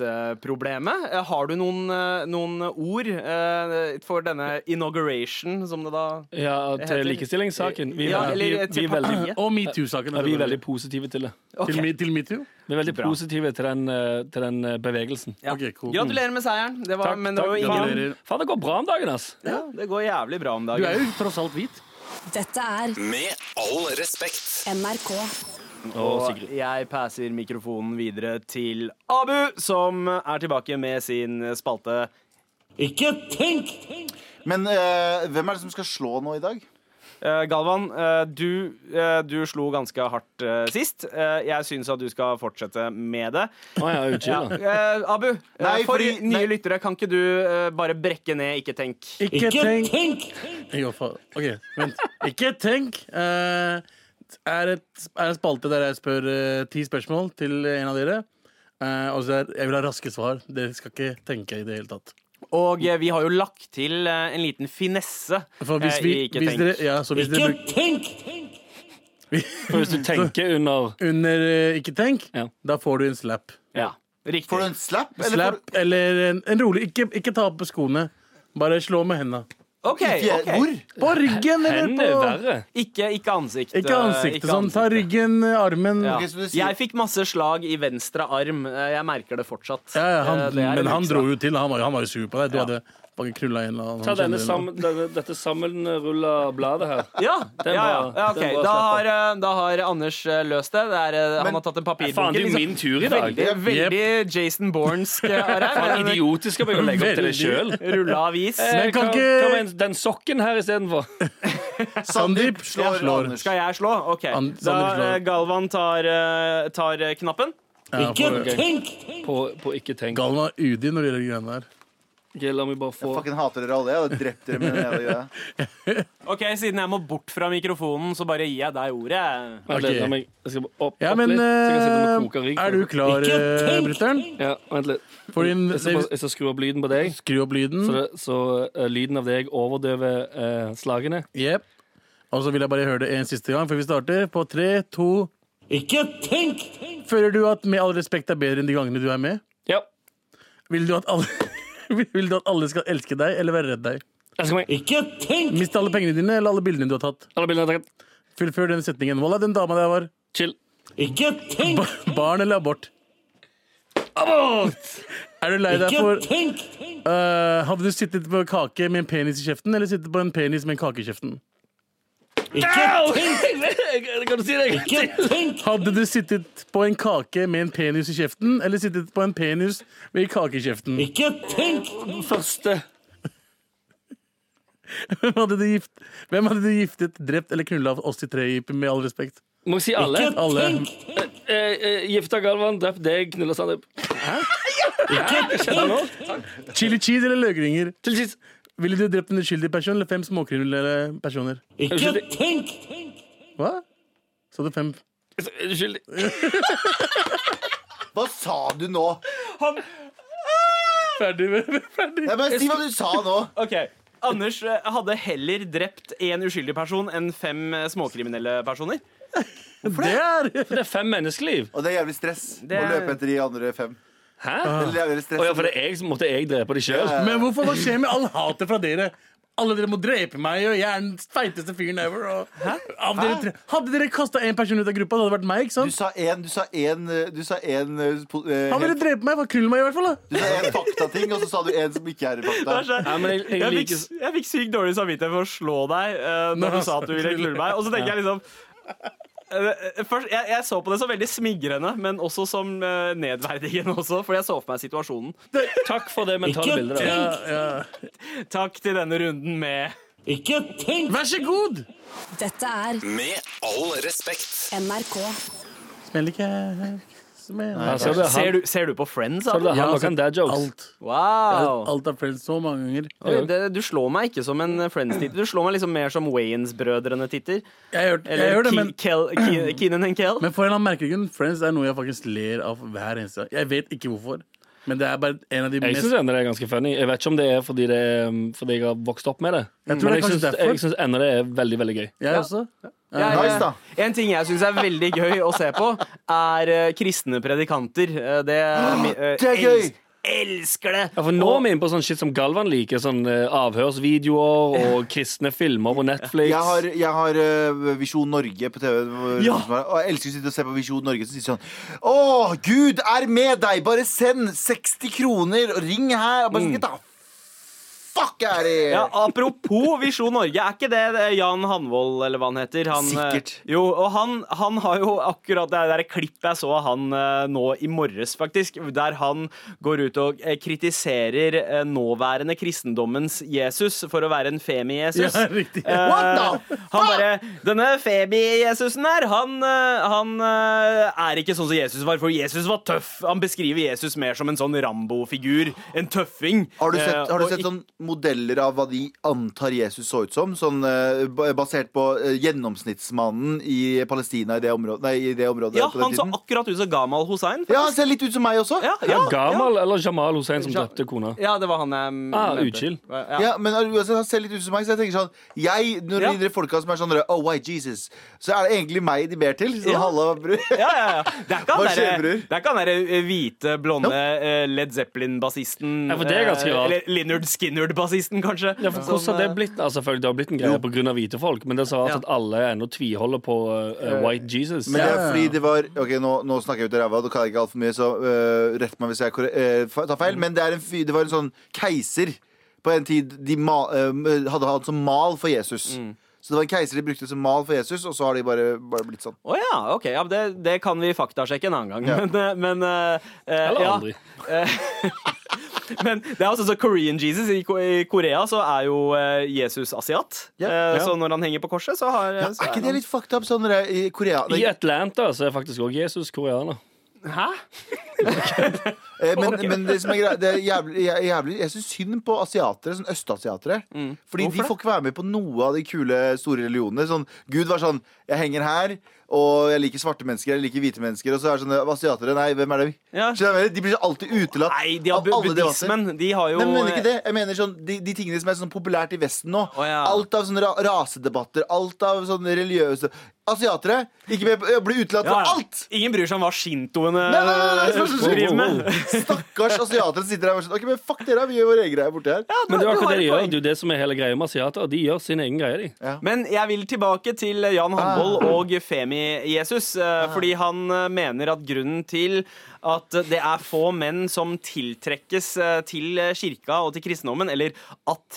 Speaker 5: likestillingsproblemet. Eh, Har du noen, eh, noen ord eh, for denne inauguration, som det da
Speaker 3: Ja,
Speaker 5: Det
Speaker 3: til
Speaker 5: heter-
Speaker 3: likestillingssaken. Vi, er
Speaker 5: Ja,
Speaker 3: veldig-
Speaker 5: eller
Speaker 3: vi,
Speaker 5: til
Speaker 3: er
Speaker 5: partiet.
Speaker 3: veldig,
Speaker 6: Og metoo-saken.
Speaker 3: ja, vi er veldig positive til det.
Speaker 5: Ok.
Speaker 6: Til, me- til metoo?
Speaker 3: Vi er veldig
Speaker 5: Bra.
Speaker 3: positive til den, eh, til den eh, bevegelsen.
Speaker 5: Ja.
Speaker 6: Ok, cool.
Speaker 5: Gratulerer med seieren. Det var,
Speaker 3: Takk,
Speaker 5: men det var jo
Speaker 3: takk.
Speaker 5: ingen
Speaker 6: Gratulerer.
Speaker 3: Faen, faen, det går bra om dagen, ass.
Speaker 5: ja, Det går jævlig bra om
Speaker 6: Du er
Speaker 5: dagen.
Speaker 6: jo tross alt hvit.
Speaker 4: Dette er
Speaker 1: Med all respekt.
Speaker 4: NRK.
Speaker 5: Og jeg passer mikrofonen videre til Abu, som er tilbake med sin spalte.
Speaker 2: Men eh, hvem er det som skal slå nå i dag?
Speaker 5: Eh, Galvan, eh, du, eh, du slo ganske hardt eh, sist. Eh, jeg syns at du skal fortsette med det.
Speaker 3: Å ja, utkyld, da.
Speaker 5: Eh, Abu, eh,
Speaker 2: Nei,
Speaker 5: for
Speaker 2: fordi- nei.
Speaker 5: nye lyttere, kan ikke du eh, bare brekke ned 'ikke tenk'?
Speaker 6: Ikke, tenk, Jo, faen. OK, vent. Ikke tenk eh, er, et, er en spalte der jeg spør eh, ti spørsmål til en av dere. Eh, og så er, jeg vil ha raske svar. Dere skal ikke tenke i det hele tatt.
Speaker 5: Og eh, vi har jo lagt til eh, en liten finesse
Speaker 6: For hvis
Speaker 5: eh,
Speaker 6: vi,
Speaker 5: i 'ikke
Speaker 6: hvis
Speaker 5: tenk'.
Speaker 6: dere, ja, så hvis dere bruk,
Speaker 3: For hvis du tenker under
Speaker 6: under eh, ikke tenk,
Speaker 3: Ja.
Speaker 6: da får du en slap.
Speaker 5: Ja, riktig.
Speaker 2: Får du en slap?
Speaker 6: Slap
Speaker 2: får du-
Speaker 6: eller en, en rolig Ikke, ikke ta på skoene. Bare slå med henda.
Speaker 5: OK.
Speaker 2: Fje-
Speaker 5: ok.
Speaker 2: Hvor?
Speaker 6: På ryggen eller
Speaker 3: Hendene er
Speaker 6: på
Speaker 3: verre.
Speaker 5: Ikke, ikke ansikt.
Speaker 6: Ikke
Speaker 5: eh,
Speaker 6: ansiktet
Speaker 5: ikke
Speaker 6: sånn. Ta
Speaker 5: ansiktet.
Speaker 6: ryggen, armen.
Speaker 5: Ja.
Speaker 6: Ja,
Speaker 2: Ok, så du sier-
Speaker 5: Jeg fikk masse slag i venstre arm. Eh, Jeg merker det fortsatt.
Speaker 6: ja, han,
Speaker 5: Eh, det er en
Speaker 6: men han
Speaker 5: uksa.
Speaker 6: dro jo til. Han var, han var jo sur på deg. Du
Speaker 5: Ja.
Speaker 6: hadde bare krulla en eller annen.
Speaker 3: Ta denne
Speaker 6: kjendis.
Speaker 3: sammen, denne, dette sammenrulla bladet her.
Speaker 5: Ja, ja,
Speaker 3: Den
Speaker 5: ja.
Speaker 3: var-
Speaker 5: ja ok.
Speaker 3: den var
Speaker 5: da,
Speaker 3: slapp
Speaker 5: har, eh, da har Anders eh, løst det. det er, eh, han har tatt en papirbunke.
Speaker 3: Faen, det
Speaker 6: liksom
Speaker 3: er jo min tur i dag.
Speaker 5: Veldig, veldig Jason Bournesk eh, er
Speaker 3: Faen,
Speaker 5: her.
Speaker 3: idiotisk av meg å legge opp til det sjøl.
Speaker 5: Rulla avis.
Speaker 6: Men kan
Speaker 3: Hva
Speaker 6: ikke
Speaker 3: med den sokken her istedenfor?
Speaker 2: Sandeep
Speaker 6: Jeg
Speaker 2: slår,
Speaker 6: slår.
Speaker 2: Anders.
Speaker 5: Skal jeg slå? OK.
Speaker 6: An-
Speaker 5: Da
Speaker 6: Sander slår.
Speaker 5: eh, Galvan tar, eh, tar eh, knappen.
Speaker 6: ja, for-
Speaker 3: På, på ikke tenk.
Speaker 6: Galvan var udig når det gjelder greiene der.
Speaker 3: Ok, La meg bare få
Speaker 2: Fucking hater dere alle. Jeg hadde drept dere med den jævla greia.
Speaker 5: OK, siden jeg må bort fra mikrofonen, så bare gir jeg deg ordet.
Speaker 3: Vent litt,
Speaker 6: Ok.
Speaker 3: la meg jeg skal bare opp, opp
Speaker 6: Ja, men
Speaker 3: litt. Så jeg kan sitte med
Speaker 6: eh,
Speaker 3: kokerygg.
Speaker 6: er du klar, eh, brutter'n?
Speaker 3: Ja, vent litt.
Speaker 6: Fordi Mm.
Speaker 3: Jeg skal, bare, jeg skal skru opp lyden på deg,
Speaker 6: Skru opp lyden.
Speaker 3: så, det, så eh, lyden av deg overdøver eh, slagene.
Speaker 6: Jep. Og så vil jeg bare høre det en siste gang før vi starter. På tre, to Ikke tenk! Føler du at Med all respekt er bedre enn de gangene du er med?
Speaker 3: Ja.
Speaker 6: Vil du at alle, vil du at alle skal elske deg eller være redd deg?
Speaker 3: Jeg skal meg.
Speaker 6: Mist alle pengene dine eller alle bildene du har tatt?
Speaker 3: Alle bildene er tatt.
Speaker 6: Fullfør den setningen. Voilà, den dama der var
Speaker 3: Chill.
Speaker 6: ba barn eller abort. Er du lei deg for Øh, Hadde du sittet på en kake med en penis i kjeften eller sittet på en penis med en kake i kjeften?
Speaker 3: Au! Kan du si det? en gang til?
Speaker 6: Hadde du sittet på en kake med en penis i kjeften eller sittet på en penis med kake i kjeften?
Speaker 3: Første.
Speaker 6: Hvem hadde du, gift, hvem hadde du giftet, drept eller knulla av oss i tre, Jip, med all respekt?
Speaker 3: Må jeg si alle?
Speaker 6: Alle.
Speaker 3: Eh, eh, Gifta Galvan, drept deg, knulla Sandeep. Hva skjedde nå?
Speaker 6: Chili cheese eller løkringer?
Speaker 3: Til sist.
Speaker 6: Ville du drept en uskyldig person eller fem småkriminelle personer?
Speaker 3: Uskyldig.
Speaker 6: Hva? Sa du fem?
Speaker 3: Unnskyld.
Speaker 2: Hva sa du nå?
Speaker 6: Ferdig. ferdig.
Speaker 2: Nei, men Si hva du sa nå.
Speaker 5: OK. Anders eh, hadde heller drept én uskyldig person enn fem eh, småkriminelle personer.
Speaker 6: Det er
Speaker 3: Det er fem menneskeliv.
Speaker 2: Og det er jævlig stress
Speaker 5: Det
Speaker 2: å
Speaker 5: er-
Speaker 2: løpe etter de andre fem.
Speaker 3: Hæ?
Speaker 2: Det er jævlig stress
Speaker 3: Å ja, for det er jeg som måtte jeg drepe de sjøl?
Speaker 6: Men hvorfor hva skjer med all hatet fra dere? Alle dere må drepe meg, og jeg er den feiteste fyren ever. Og... Av dere tre... Hadde dere kasta én person ut av gruppa, det hadde vært meg. ikke
Speaker 2: Du
Speaker 6: sant?
Speaker 2: sa én Du sa én Du sa én eh, po- eh,
Speaker 6: Han ville
Speaker 2: helt-
Speaker 6: drepe meg. for å Knulle meg, i hvert fall. da.
Speaker 2: Du sa én faktating, og så sa du én som ikke er i fakta.
Speaker 5: Æsj,
Speaker 3: Ja, men jeg, jeg,
Speaker 5: Jeg fikk,
Speaker 3: liker,
Speaker 5: jeg fikk sykt dårlig samvittighet for å slå deg uh, når
Speaker 6: Nei,
Speaker 5: du sa at du ville knulle meg. Og så tenker jeg liksom eh, Først, jeg, jeg så på det som veldig smigrende, men også som eh, nedverdigende. også For jeg så for meg situasjonen.
Speaker 3: takk for det mentale bildet.
Speaker 6: Ja,
Speaker 3: Der.
Speaker 6: ja.
Speaker 5: Takk til denne runden med
Speaker 6: Vær så god!
Speaker 4: Dette er
Speaker 1: Med all respekt.
Speaker 4: NRK.
Speaker 6: Smell ikke Smell.
Speaker 3: Ja, ser du,
Speaker 5: Ser
Speaker 3: han,
Speaker 5: du, ser du på Friends?
Speaker 3: ser du,
Speaker 5: Adam?
Speaker 3: han
Speaker 6: Ja,
Speaker 3: og kan dad jokes.
Speaker 6: Alt.
Speaker 5: Wow!
Speaker 6: Alt er friends så mange ganger.
Speaker 5: Oi, det, du slår meg ikke som en Friends-titter. Du slår meg liksom mer som Wayans-brødrene-titter.
Speaker 6: Jeg gjør, jeg
Speaker 5: Eller
Speaker 6: gjør det,
Speaker 5: Ke
Speaker 6: men,
Speaker 5: Kel Ke Keenan and Kel.
Speaker 6: men for en eller annen merkelig grunn, Friends er noe jeg faktisk ler av hver eneste gang. Jeg vet ikke hvorfor. Men det er bare en av de
Speaker 3: Jeg
Speaker 6: mest
Speaker 3: syns ennå det er ganske funny. Jeg vet ikke om det er fordi, det er, um, fordi jeg har vokst opp med det.
Speaker 6: Jeg tror
Speaker 3: Men
Speaker 6: det er
Speaker 3: jeg
Speaker 6: kanskje
Speaker 3: synes-
Speaker 6: derfor.
Speaker 3: jeg syns ennå det er veldig, veldig gøy.
Speaker 6: Jeg også.
Speaker 5: Jeg-
Speaker 2: Nice, da.
Speaker 5: En ting jeg syns er veldig gøy å se på, er eh, kristne predikanter. Eh, Det, eh,
Speaker 2: det er gøy!
Speaker 5: Elsker det!
Speaker 3: Ja, for nå er vi inne på sånn shit som Galvan liker. Sånn eh, avhørsvideoer og kristne filmer på Netflix.
Speaker 2: Jeg har, jeg har eh, Visjon Norge på TV. hvor-
Speaker 5: Ja.
Speaker 2: Og jeg elsker å sitte og se på Visjon Norge som sier sånn Å, Gud er med deg! Bare send 60 kroner, og ring her! Og bare skal ta Fuck er det!
Speaker 5: Mm. Ja, apropos Visjon Norge, er ikke det, det er Jan Hanvold, eller hva han heter? Han, eh,
Speaker 2: Sikkert.
Speaker 5: Jo, og han, han har jo akkurat det der klippet jeg så av han eh, nå i morges, faktisk, der han går ut og eh, kritiserer eh, nåværende kristendommens Jesus for å være en femi-Jesus.
Speaker 6: Ja, riktig.
Speaker 5: Eh,
Speaker 2: What the
Speaker 5: Han bare Denne femi-Jesusen her, han, eh, han eh, er ikke sånn som Jesus var, for Jesus var tøff. Han beskriver Jesus mer som en sånn Rambo-figur. En tøffing.
Speaker 2: Har du sett,
Speaker 5: Eh,
Speaker 2: har du
Speaker 5: og
Speaker 2: sett sånn modeller av hva de antar Jesus så ut som? Sånn, eh, ba- basert på eh, gjennomsnittsmannen i Palestina i det området? Nei, i det området
Speaker 5: Ja,
Speaker 2: på den
Speaker 5: han så
Speaker 2: tiden.
Speaker 5: akkurat ut som Gamal Hussein.
Speaker 2: ja, han ser litt ut som meg også.
Speaker 5: Ja, ja,
Speaker 3: Ja,
Speaker 5: ja.
Speaker 3: Gamal eller Jamal Hussein som
Speaker 5: Ja.
Speaker 3: drepte kona.
Speaker 5: Ja, det var han jeg mm,
Speaker 3: Ah,
Speaker 5: mente.
Speaker 3: utskill.
Speaker 5: Ja.
Speaker 2: Ja, men uansett, han ser litt ut som meg, så jeg tenker sånn Jeg, Når
Speaker 5: Ja.
Speaker 2: de der folka som er sånn Oh, why Jesus? Så er det egentlig meg de ber til. Så
Speaker 5: Ja.
Speaker 2: halla, bror.
Speaker 5: Ja, ja, ja. Det er
Speaker 2: Hva
Speaker 5: ikke han
Speaker 2: skjer,
Speaker 5: derre-
Speaker 2: bror?
Speaker 5: det er ikke han derre hvite, blonde eh, Led Zeppelin-bassisten.
Speaker 3: Ja, for det er ganske
Speaker 5: eh,
Speaker 3: rart.
Speaker 5: Eller Linnard Skinnard-bassisten, kanskje.
Speaker 3: Ja, for
Speaker 5: Som,
Speaker 3: hvordan har det
Speaker 5: eh,
Speaker 3: blitt? Altså, selvfølgelig, det har blitt en greie pga. hvite folk, men det er så rart
Speaker 5: Ja.
Speaker 3: at alle ennå tviholder på eh, White Jesus.
Speaker 2: Men det er
Speaker 6: Ja.
Speaker 2: fordi det var Ok, nå, nå snakker jeg ut av ræva, da kan jeg ikke altfor mye, så øh, rett meg hvis jeg korre- øh, fa- tar feil. Men det, er en fy, det var en sånn keiser på en tid de ma, øh, hadde hatt som mal for Jesus. Så det var en keiser de brukte som mal for Jesus, og så har de bare, bare blitt sånn.
Speaker 5: Å ja, ok. Ja, det, det kan vi faktasjekke en annen gang. Men, eh, men eh, eh,
Speaker 3: Eller
Speaker 5: ja.
Speaker 3: aldri.
Speaker 5: Men det er altså så Korean Jesus. I, Ko- I Korea så er jo eh, Jesus asiat.
Speaker 2: Ja.
Speaker 5: Eh, Så når han henger på korset, så har eh,
Speaker 2: Ja,
Speaker 5: så
Speaker 2: er ikke
Speaker 5: han-
Speaker 2: det litt fucked up sånn når jeg, i Korea? Nei,
Speaker 3: I Atlanta så er faktisk òg Jesus koreaner.
Speaker 5: Hæ?
Speaker 2: eh, men, men det som er greit, det er jævlig, jæ- jævlig Jeg syns synd på asiatere, sånn østasiatere. Fordi
Speaker 5: Mm. Hvorfor
Speaker 2: de får ikke være med på noe av de kule, store religionene. Sånn, Gud var sånn Jeg henger her, og jeg liker svarte mennesker, jeg liker hvite mennesker. Og så er det sånn Asiatere, nei, hvem er det?
Speaker 5: Ja.
Speaker 2: Skjønner jeg hva jeg mener? De blir alltid utelatt
Speaker 5: Nei, de har
Speaker 2: av alle debatter.
Speaker 5: buddhismen. De har jo eh,
Speaker 2: Nei, men jeg mener ikke det. Jeg mener sånn, de, de tingene som er sånn populært i Vesten nå.
Speaker 5: Å, ja.
Speaker 2: Alt av sånne ra rasedebatter, alt av sånne religiøse Asiatere ikke med, på- blir utelatt
Speaker 5: eh, Ja, ja.
Speaker 2: for alt!
Speaker 5: Ingen bryr seg om hva shintoene
Speaker 2: Nei, nei, nei, nei, nei, nei,
Speaker 5: driver
Speaker 3: nei,
Speaker 5: med.
Speaker 2: Stakkars asiatere som sitter der og er sånn OK, men fuck dere, vi gjør vår egen greie borti her.
Speaker 3: Men det er
Speaker 5: du har
Speaker 3: akkurat det de
Speaker 5: et
Speaker 3: gjør.
Speaker 5: poeng.
Speaker 3: Det er jo det som er hele greia med asiater. De gjør sin egen greie, de.
Speaker 5: Men jeg vil tilbake til eh, Jan Hanvold
Speaker 2: Ah.
Speaker 5: og Femi-Jesus. eh, Fordi han eh, mener at grunnen til at det er få menn som tiltrekkes eh, til eh, kirka og til kristendommen, eller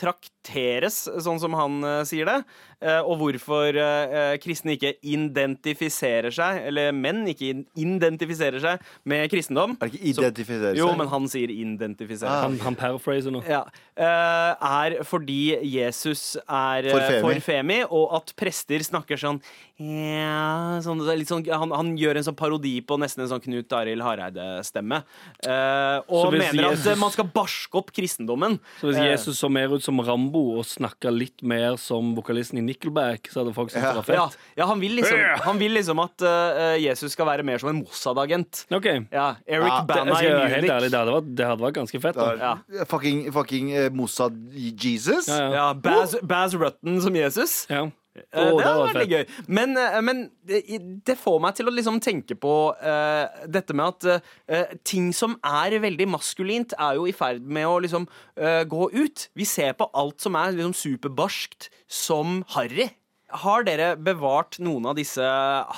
Speaker 5: attrakteres, sånn som han eh, sier det, eh, og hvorfor eh, eh, kristne ikke identifiserer seg, eller menn ikke in- identifiserer seg med kristendom
Speaker 2: Er det ikke identifisere seg?
Speaker 5: Jo, men han sier identifisere.
Speaker 2: Ah.
Speaker 5: seg
Speaker 3: Han, han paraphraser nå.
Speaker 5: ja, eh, er fordi Jesus er eh,
Speaker 2: For femi.
Speaker 5: for femi, og at prester snakker sånn, ja, sånn, det er litt sånn han, han gjør en sånn parodi på nesten en sånn Knut Arild Hareide-stemme. eh,
Speaker 3: Så
Speaker 5: og
Speaker 3: hvis
Speaker 5: mener
Speaker 3: Jesus-
Speaker 5: at eh, man skal barske opp kristendommen.
Speaker 3: Så hvis
Speaker 5: Eh,
Speaker 3: Jesus så mer ut som Rambo og snakka litt mer som vokalisten i Nickelback, så hadde folk syntes det var
Speaker 5: Eh, ja,
Speaker 3: fett.
Speaker 5: ja, han vil liksom, han vil liksom at eh, Jesus skal være mer som en Mossad-agent.
Speaker 3: Ok, det, altså,
Speaker 5: Ja, Eric
Speaker 2: Ja, det-
Speaker 3: jeg
Speaker 5: Bana
Speaker 3: skal
Speaker 5: i
Speaker 3: være helt ærlig,
Speaker 5: Munich.
Speaker 3: det hadde vært, det hadde vært ganske fett. Da.
Speaker 5: Ja.
Speaker 2: Fucking, fucking eh, Mossad Jesus?
Speaker 3: Ja, ja.
Speaker 5: Ja, Baz, Baz Rutten som Jesus.
Speaker 3: Ja.
Speaker 5: Eh,
Speaker 3: Å,
Speaker 5: det hadde vært
Speaker 3: fett.
Speaker 5: litt gøy. Men, eh, men det, det får meg til å liksom tenke på eh, dette med at eh, ting som er veldig maskulint, er jo i ferd med å liksom eh, gå ut. Vi ser på alt som er liksom superbarskt, som harry. Har dere bevart noen av disse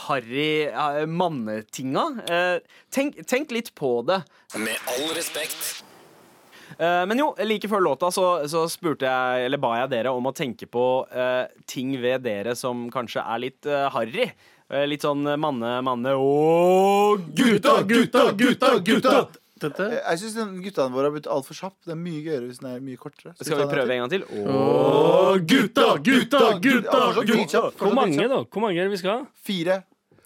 Speaker 5: harry eh, mannetinga? Eh, tenk, tenk litt på det.
Speaker 1: Med all respekt.
Speaker 5: Eh, Men jo, like før låta så, så spurte jeg, eller ba jeg dere om å tenke på eh, ting ved dere som kanskje er litt uh, harry. Eh, litt sånn manne, manne og
Speaker 6: Gutta, gutta, gutta, gutta! Dette
Speaker 5: Eh,
Speaker 2: Eh, Jeg syns guttene våre har blitt altfor kjapp. Det er mye gøyere hvis den er mye kortere.
Speaker 5: Skal vi prøve en gang til? Åh.
Speaker 6: Og gutta, gutta, gutta, gutta!
Speaker 3: Hvor mange, da? Hvor mange er det vi skal ha?
Speaker 2: Fire.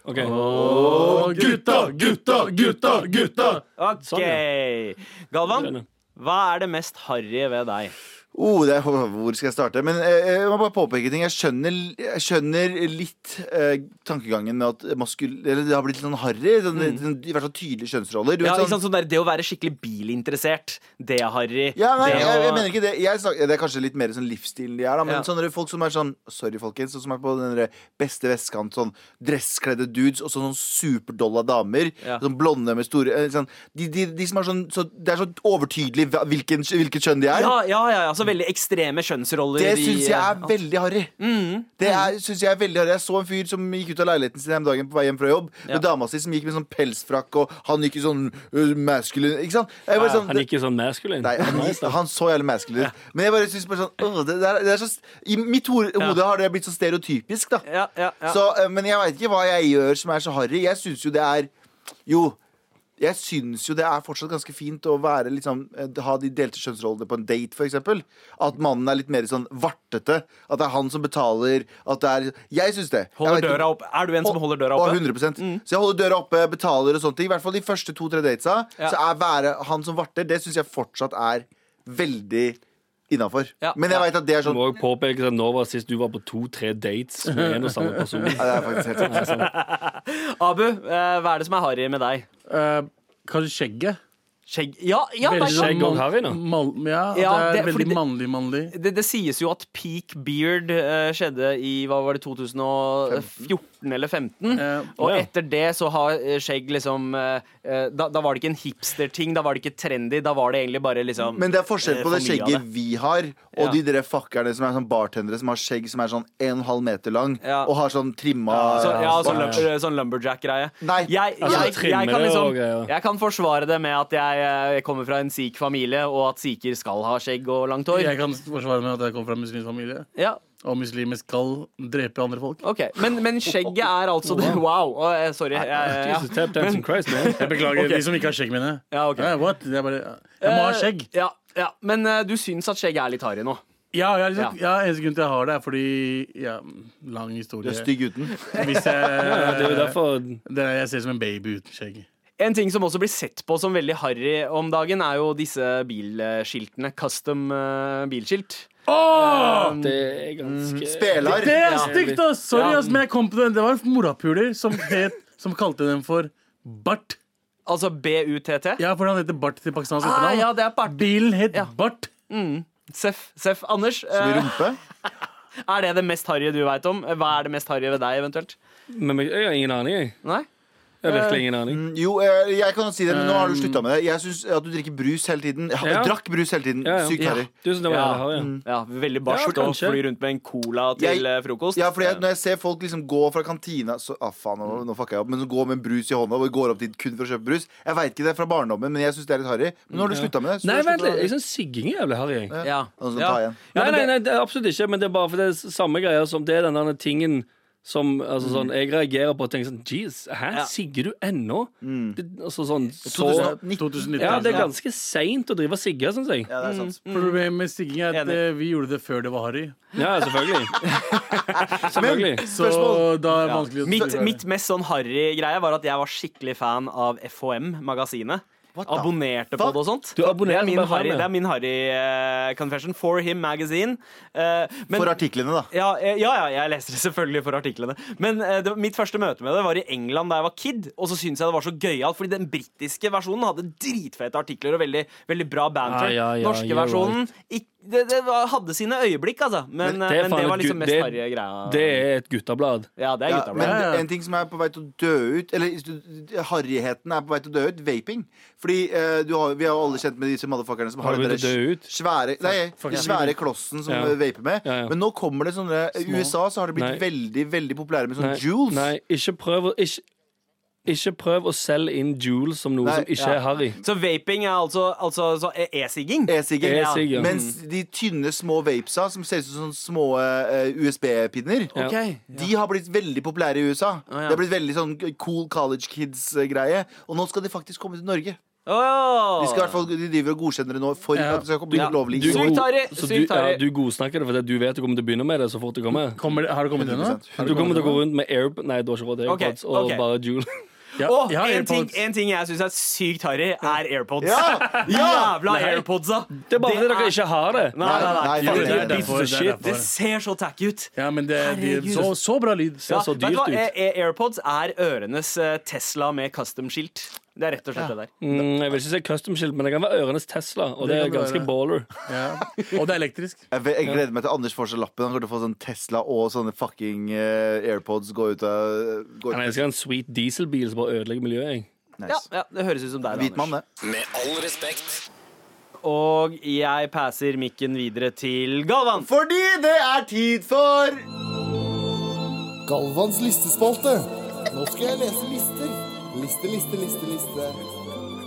Speaker 3: Ok.
Speaker 6: Og gutta, gutta, gutta, gutta!
Speaker 5: OK.
Speaker 3: Sånn,
Speaker 5: Galvan, hva er det mest harry ved deg?
Speaker 2: Oh, det er, hvor skal jeg starte? Men eh, jeg må bare påpeke ting. Jeg skjønner, jeg skjønner litt eh, tankegangen med at maskul... Eller det har blitt litt sånn harry. Sånn, sånn, I hvert fall tydelige kjønnsroller. Du vet
Speaker 5: Mm. Ja, ikke
Speaker 2: sånn-
Speaker 5: sant? Sånn der, det å være skikkelig bilinteressert, det er harry.
Speaker 2: Ja, nei,
Speaker 5: det
Speaker 2: jeg,
Speaker 5: å-
Speaker 2: jeg mener ikke det. Jeg snak, det er kanskje litt mer sånn livsstilen de er, da. Men
Speaker 5: Ja.
Speaker 2: sånne folk som er sånn Sorry, folkens. Sånn som er på den der beste vestkant, sånn dresskledde dudes og sånn, sånn superdolla damer.
Speaker 5: Ja.
Speaker 2: Sånn blonde med store eh, sånn, de, de, de som er sånn så, Det er så overtydelig hva- hvilken, hvilket kjønn de er.
Speaker 5: Ja, ja, ja, ja, så veldig ekstreme kjønnsroller.
Speaker 2: Det
Speaker 5: i-
Speaker 2: syns jeg er veldig harry.
Speaker 5: Mm.
Speaker 2: Det er, synes jeg er veldig harry Jeg så en fyr som gikk ut av leiligheten sin den dagen på vei hjem fra jobb.
Speaker 5: Ja.
Speaker 2: Med dama si som gikk med sånn pelsfrakk, og han gikk i sånn uh, masculine Ikke sant? Jeg bare
Speaker 5: Ja,
Speaker 2: sånn,
Speaker 3: Han gikk jo sånn maskulin.
Speaker 2: Nei, han, han så jævlig masculine ut. Men jeg bare synes bare sånn åh, det, det er, det er så, I mitt hode, hode har det blitt så stereotypisk, da.
Speaker 5: Ja, ja, ja.
Speaker 2: Så, eh, men jeg veit ikke hva jeg gjør som er så harry. Jeg syns jo det er Jo. Jeg syns jo det er fortsatt ganske fint å være liksom, eh, ha de delte kjønnsrollene på en date, f.eks. At mannen er litt mer sånn vartete. At det er han som betaler. At det er Jeg syns det. Jeg
Speaker 5: Holder
Speaker 2: vet ikke-
Speaker 5: døra opp. Er du en som holder døra
Speaker 2: og
Speaker 5: oppe? Mm.
Speaker 2: 100% Så jeg holder døra oppe, betaler og sånne ting. I hvert fall de første to-tre datesa.
Speaker 5: Ja.
Speaker 2: Så er være han som varter, det syns jeg fortsatt er veldig innafor.
Speaker 5: Ja.
Speaker 2: Men jeg veit at det er
Speaker 3: Du
Speaker 2: sånn
Speaker 3: må også påpeke at nå var sist du var på to-tre dates med en og samme person.
Speaker 2: Ja, det er faktisk helt sant.
Speaker 5: Abu, eh, hva er det som er harry med deg?
Speaker 6: Eh, kanskje skjegget.
Speaker 5: Skjegg? Ja, ja det,
Speaker 3: Veldig
Speaker 5: er,
Speaker 3: Skjegg og harry nå.
Speaker 6: mann- ja, at
Speaker 5: Ja,
Speaker 6: det er
Speaker 5: det- fordi
Speaker 6: veldig
Speaker 5: det-
Speaker 6: mannlig, mannlig.
Speaker 5: det, det sies jo at peak beard eh, skjedde i hva var det, 2014 eh, eller 2015.
Speaker 6: Ja.
Speaker 5: Og
Speaker 3: Eh, Ja.
Speaker 5: etter det så har eh, skjegg liksom eh, eh, da, da var det ikke en hipster-ting, da var det ikke trendy. Da var det egentlig bare liksom
Speaker 2: Men det er forskjell
Speaker 5: eh,
Speaker 2: på det
Speaker 5: for mye av
Speaker 2: skjegget vi har, og
Speaker 5: Ja.
Speaker 2: de dere fuckerne som er sånn bartendere som har skjegg som er sånn 1,5 meter lang,
Speaker 5: Ja.
Speaker 2: og har sånn trimma
Speaker 5: Så, ja,
Speaker 2: bart.
Speaker 5: sånn, lumber, sånn lumberjack-greie.
Speaker 2: Nei.
Speaker 5: Jeg,
Speaker 2: Altså,
Speaker 5: jeg, jeg,
Speaker 3: trimmere
Speaker 5: kan
Speaker 3: og
Speaker 5: liksom,
Speaker 3: greier.
Speaker 5: jeg kan forsvare det med at jeg, eh, kommer fra en sikh familie, og at sikher skal ha skjegg og langt
Speaker 6: Jeg
Speaker 5: hår.
Speaker 6: kan forsvare meg at jeg kommer fra en muslimsk familie.
Speaker 5: Ja,
Speaker 6: Og muslimer skal drepe andre folk.
Speaker 5: ok Men, men skjegget er altså det Wow! å, eh, sorry. Jeg, ja.
Speaker 3: Jesus, tap dancing Christ, man.
Speaker 6: Jeg beklager de som ikke har skjegg, mener jeg.
Speaker 5: Ja, ok.
Speaker 6: Eh, what? Jeg, bare, jeg må ha skjegg.
Speaker 5: Eh, Ja, ja. Men eh, du syns at skjegg er litt harry nå?
Speaker 6: Ja, jeg, er liksom, ja. eneste grunn til at jeg har det, er fordi ja, Lang
Speaker 2: Du
Speaker 6: historie.
Speaker 2: er stygg uten.
Speaker 6: Hvis jeg,
Speaker 3: Det er jo derfor
Speaker 6: det er, jeg ser ut som en baby uten skjegg.
Speaker 5: En ting som også blir sett på som veldig harry om dagen, er jo disse bilskiltene. Custom eh, bilskilt.
Speaker 3: det er ganske
Speaker 2: Spelar.
Speaker 6: Det er stygt, ass! Sorry,
Speaker 5: Ja.
Speaker 6: ass, men jeg kom på den. Det var en morapuler som, het- som kalte den for Bart.
Speaker 5: Altså BUTT.
Speaker 6: Ja, for han heter Bart til pakistansk
Speaker 5: Ah,
Speaker 6: etternavn.
Speaker 5: ja, det er Bart.
Speaker 6: Bilen het Bart.
Speaker 5: Seff. Seff. Anders,
Speaker 2: Med
Speaker 5: eh,
Speaker 2: rumpe.
Speaker 5: er det det mest harry du veit om? Hva er det mest harry ved deg, eventuelt?
Speaker 3: Men jeg jeg har ingen aning, jeg.
Speaker 5: Nei?
Speaker 3: jeg har virkelig ingen aning.
Speaker 2: Jo, eh, jeg kan jo si det, men nå har du slutta med det. Jeg syns at du drikker brus hele tiden. Jeg
Speaker 3: Ja.
Speaker 2: drakk brus hele tiden.
Speaker 3: Ja, ja.
Speaker 2: Sykt harry.
Speaker 3: Du synes det var
Speaker 5: Ja.
Speaker 3: jævlig harry, ja.
Speaker 5: Mm. Ja, Veldig barskt
Speaker 3: Ja,
Speaker 5: å
Speaker 3: kanskje.
Speaker 5: fly rundt med en cola til
Speaker 2: Jeg-
Speaker 5: eh, frokost.
Speaker 2: Ja, fordi jeg, Når jeg ser folk liksom gå fra kantina så, ah, faen, nå, nå fucker jeg opp, Men så går med en brus i hånda og går opp dit kun for å kjøpe brus Jeg veit ikke det fra barndommen, men jeg syns det er litt harry. Men nå har du slutta med det. så du har
Speaker 3: Nei, vent
Speaker 2: sluttet
Speaker 3: litt.
Speaker 2: med
Speaker 3: Jeg syns sigging er sånn jævlig harry. jeg.
Speaker 2: det.
Speaker 5: Ja.
Speaker 2: Noen som
Speaker 5: Ja.
Speaker 2: tar igjen.
Speaker 3: Nei, nei, nei, det er absolutt ikke. Men det er bare for det er samme greia som det er den der tingen som altså, sånn, jeg reagerer på og tenker sånn Jeez, hæ,
Speaker 5: Ja.
Speaker 3: sigger du ennå? Det, altså sånn så
Speaker 2: 2019.
Speaker 6: 2019.
Speaker 3: Ja, det er ganske seint å drive og sigge, syns jeg.
Speaker 2: Ja, det er sant.
Speaker 6: Problemet med stigging er at
Speaker 5: Enig.
Speaker 6: eh, vi gjorde det før det var harry.
Speaker 3: Ja, selvfølgelig. selvfølgelig.
Speaker 6: Så
Speaker 2: Spørsmål?
Speaker 6: da er det
Speaker 5: Ja.
Speaker 6: vanskelig å
Speaker 5: Mitt, mitt mest sånn harry greie var at jeg var skikkelig fan av FHM-magasinet.
Speaker 2: What the
Speaker 5: Abonnerte på
Speaker 2: fuck?
Speaker 5: det og sånt.
Speaker 3: Du
Speaker 5: det
Speaker 3: abonnerer
Speaker 5: er min
Speaker 3: på FHM,
Speaker 5: harry,
Speaker 3: ja.
Speaker 5: det er min harry eh, confession. For Him Magazine. Eh, men-
Speaker 2: For artiklene, da.
Speaker 5: ja, eh, ja, ja, jeg leser det selvfølgelig for artiklene. Men eh, det, mitt første møte med det var i England da jeg var kid. Og så syntes jeg det var så gøyalt, fordi den britiske versjonen hadde dritfete artikler og veldig, veldig bra banter.
Speaker 3: Ja, Ah, ja, ja,
Speaker 5: Norske
Speaker 3: you're
Speaker 5: versjonen ikk- det, det var, hadde sine øyeblikk, altså. Men, eh,
Speaker 3: det er
Speaker 5: men
Speaker 3: faen
Speaker 5: det var
Speaker 3: et
Speaker 5: liksom
Speaker 3: gu-
Speaker 5: mest
Speaker 3: det-
Speaker 5: harry greia.
Speaker 3: Det er et guttablad.
Speaker 5: Ja, det er
Speaker 2: Ja,
Speaker 5: gutta
Speaker 2: men
Speaker 6: Ja, ja.
Speaker 2: en ting som er på vei til å dø ut Eller harrigheten er på vei til å dø ut. Vaping. Fordi eh, du har, Vi har jo alle kjent med disse motherfuckerne som har
Speaker 3: Har
Speaker 2: den
Speaker 3: vi det
Speaker 2: derre
Speaker 3: dø ut?
Speaker 2: svære, nei, den svære klossen som
Speaker 3: Ja.
Speaker 2: eh, vaper med.
Speaker 3: Ja, ja.
Speaker 2: Men nå kommer det sånne I USA så har det blitt
Speaker 3: Nei.
Speaker 2: veldig veldig populære med
Speaker 3: Nei,
Speaker 2: sånne jewels.
Speaker 3: nei ikke, prøv å, ikke, ikke prøv å selge inn Jules som noe
Speaker 2: Nei,
Speaker 3: som ikke
Speaker 2: ja.
Speaker 3: er harry.
Speaker 5: Så vaping er altså, altså så e- e-sigging?
Speaker 2: E-siggen.
Speaker 3: E-sigg, ja.
Speaker 2: Mens de tynne, små vapesa som ser ut som sånne små eh, USB-pinner,
Speaker 3: Ja.
Speaker 2: de har blitt veldig populære i USA.
Speaker 5: ja.
Speaker 2: Det har blitt veldig sånn cool college kids-greie. Og nå skal de faktisk komme til Norge.
Speaker 5: Åh.
Speaker 2: De, skal i hvert fall, de driver og godkjenner det nå for
Speaker 6: Ja.
Speaker 2: at det skal bli
Speaker 5: Ja.
Speaker 2: lovlig.
Speaker 5: Du-
Speaker 2: Så-
Speaker 5: Sykt harry,
Speaker 3: så du,
Speaker 5: sykt harry.
Speaker 3: ja, du godsnakker det fordi du vet du kommer til å begynne med det så fort det kommer.
Speaker 6: Kommer det, har det kommet ennå?
Speaker 2: 100%.
Speaker 6: Har det
Speaker 3: Du kommer til å
Speaker 6: ennå?
Speaker 3: gå rundt med airp... Nei, du har ikke råd til
Speaker 5: Ok,
Speaker 3: airpods og
Speaker 5: ok.
Speaker 3: bare Jule.
Speaker 6: Ja,
Speaker 5: Og
Speaker 6: jeg har
Speaker 5: en ting,
Speaker 6: AirPods.
Speaker 5: en ting jeg syns er sykt harry, er AirPods.
Speaker 2: Ja,
Speaker 5: Jævla
Speaker 3: Nei.
Speaker 5: AirPodsa!
Speaker 3: Det er bare fordi
Speaker 5: er-
Speaker 3: dere ikke har det.
Speaker 5: Nei, nei, nei.
Speaker 2: Nei,
Speaker 6: Jo, det
Speaker 2: faen,
Speaker 6: er derfor. Det er
Speaker 5: Det
Speaker 6: derfor.
Speaker 5: ser så tacky ut.
Speaker 6: Ja, men det, de,
Speaker 5: Herregud.
Speaker 6: så, så bra lyd.
Speaker 5: Ja,
Speaker 6: Ja.
Speaker 3: så
Speaker 5: vet du
Speaker 3: dyrt
Speaker 5: hva?
Speaker 3: ut.
Speaker 5: Eh, eh, AirPods er ørenes eh, Tesla med custom-skilt. Det er rett og slett det der.
Speaker 3: Mm, jeg vil ikke si custom skilt, men det kan være ørenes Tesla, og det,
Speaker 6: Det
Speaker 3: er
Speaker 6: kan
Speaker 3: ganske
Speaker 6: være.
Speaker 3: baller.
Speaker 6: Og det er elektrisk.
Speaker 2: Jeg, vet- jeg gleder meg til Anders får seg lappen. Han kommer til å få sånn Tesla og sånne fucking eh, AirPods gå ut av gå
Speaker 3: Men jeg
Speaker 2: ut.
Speaker 3: skal ha en sweet dieselbil som bare ødelegger miljøet. Jeg.
Speaker 5: Ja,
Speaker 2: Nice.
Speaker 5: ja, det høres ut som deg,
Speaker 2: Hvit mann,
Speaker 5: Anders.
Speaker 2: det.
Speaker 1: Med all respekt.
Speaker 5: Og jeg passer mikken videre til Galvan.
Speaker 2: Fordi det er tid for
Speaker 7: Galvans listespalte. Nå skal jeg lese lister. Liste, liste, liste, liste.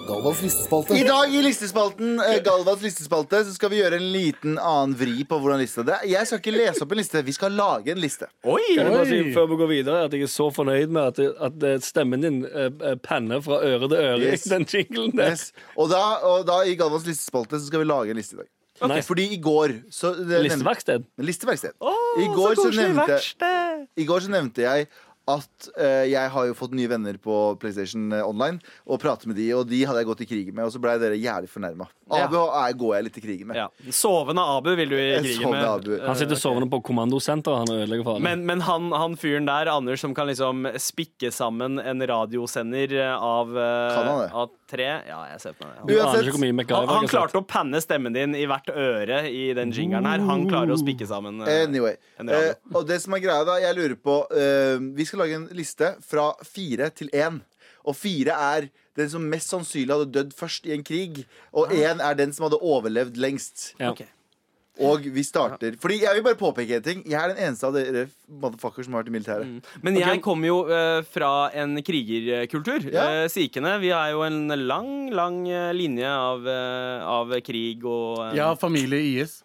Speaker 7: Galvans listespalte.
Speaker 2: I dag i listespalten, eh, Galvans listespalte, så skal vi gjøre en liten annen vri på hvordan lista det er. Jeg skal ikke lese opp en liste, vi skal lage en liste.
Speaker 5: Oi!
Speaker 3: Kan jeg bare si
Speaker 6: Oi.
Speaker 3: før vi går videre at jeg er så fornøyd med at, at eh, stemmen din eh, eh, penner fra øre til øre
Speaker 2: Yes.
Speaker 3: i den jinglen der.
Speaker 2: Yes. Og, da, og da i Galvans listespalte så skal vi lage en liste i dag.
Speaker 3: Nice.
Speaker 2: Fordi i går så det nevnte-
Speaker 3: Listeverksted.
Speaker 2: Listeverksted.
Speaker 5: Å,
Speaker 2: I går så
Speaker 5: koselig
Speaker 2: nevnte-
Speaker 5: verksted.
Speaker 2: I går så nevnte jeg at eh, jeg har jo fått nye venner på PlayStation eh, Online. Og prater med de, og de hadde jeg gått i krigen med, og så blei dere jævlig fornærma.
Speaker 5: Ja.
Speaker 2: Abu er, går jeg litt i krigen med.
Speaker 5: Ja. Sovende Abu vil du i
Speaker 2: Jeg
Speaker 5: krigen
Speaker 2: sov med
Speaker 5: med.
Speaker 2: Abu.
Speaker 3: Han sitter sovende på kommandosenteret han og ødelegger for alle.
Speaker 5: Men, men han, han fyren der, Anders, som kan liksom spikke sammen en radiosender av, eh,
Speaker 2: Kan han det?
Speaker 5: av tre Ja, jeg ser på meg. Han,
Speaker 3: Du aner
Speaker 2: uansett-
Speaker 3: ikke hvor mye
Speaker 5: han,
Speaker 3: MacGyver
Speaker 5: han
Speaker 3: har sagt.
Speaker 5: klarte å panne stemmen din i hvert øre i den jingeren her. Han klarer å spikke sammen eh,
Speaker 2: Anyway.
Speaker 5: en radio.
Speaker 2: Eh, og det som er greia, da, jeg lurer på eh, Vi skal lage en liste fra fire til én. Og fire er den som mest sannsynlig hadde dødd først i en krig. Og én er den som hadde overlevd lengst.
Speaker 3: Ja.
Speaker 5: Ok.
Speaker 2: Og vi starter Fordi jeg vil bare påpeke en ting. Jeg er den eneste av dere motherfuckers som har vært i militæret.
Speaker 5: Men jeg kommer jo eh, fra en krigerkultur.
Speaker 2: Ja.
Speaker 5: Eh, sikene. Vi har jo en lang, lang eh, linje av, eh, av krig og eh,
Speaker 6: Jeg har familie i IS.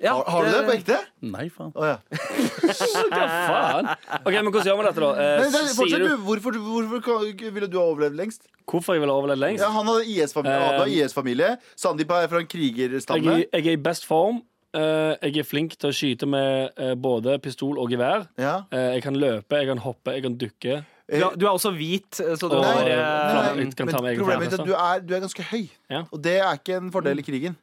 Speaker 5: ja,
Speaker 2: Har, har du det på ekte?
Speaker 6: Nei, faen.
Speaker 2: Å ja.
Speaker 3: Hva faen? Ok, men Hvordan gjør vi dette, da? Eh,
Speaker 2: Men, men,
Speaker 3: sier
Speaker 2: fortsett, du.
Speaker 3: du
Speaker 2: Hvorfor, hvorfor kan- ville du ha overlevd lengst?
Speaker 3: hvorfor jeg vil overleve lengst?
Speaker 2: Ja, han hadde IS-familie. Abu har
Speaker 3: Eh,
Speaker 2: IS-familie. Sandeep er fra en krigerstamme.
Speaker 3: Jeg, er- jeg er i best form. Eh, jeg er flink til å skyte med eh, både pistol og gevær.
Speaker 2: Ja.
Speaker 3: Eh, jeg kan løpe, jeg kan hoppe, jeg kan dukke.
Speaker 5: du, er- du er også hvit, eh, så du
Speaker 3: Og
Speaker 5: har
Speaker 3: eh,
Speaker 5: eh,
Speaker 3: kan-
Speaker 2: men
Speaker 3: kan ta med egne
Speaker 2: problemet mitt er
Speaker 3: fjernhester.
Speaker 2: at du er, du er ganske høy,
Speaker 3: Ja. Mm.
Speaker 2: og det er ikke en fordel i krigen.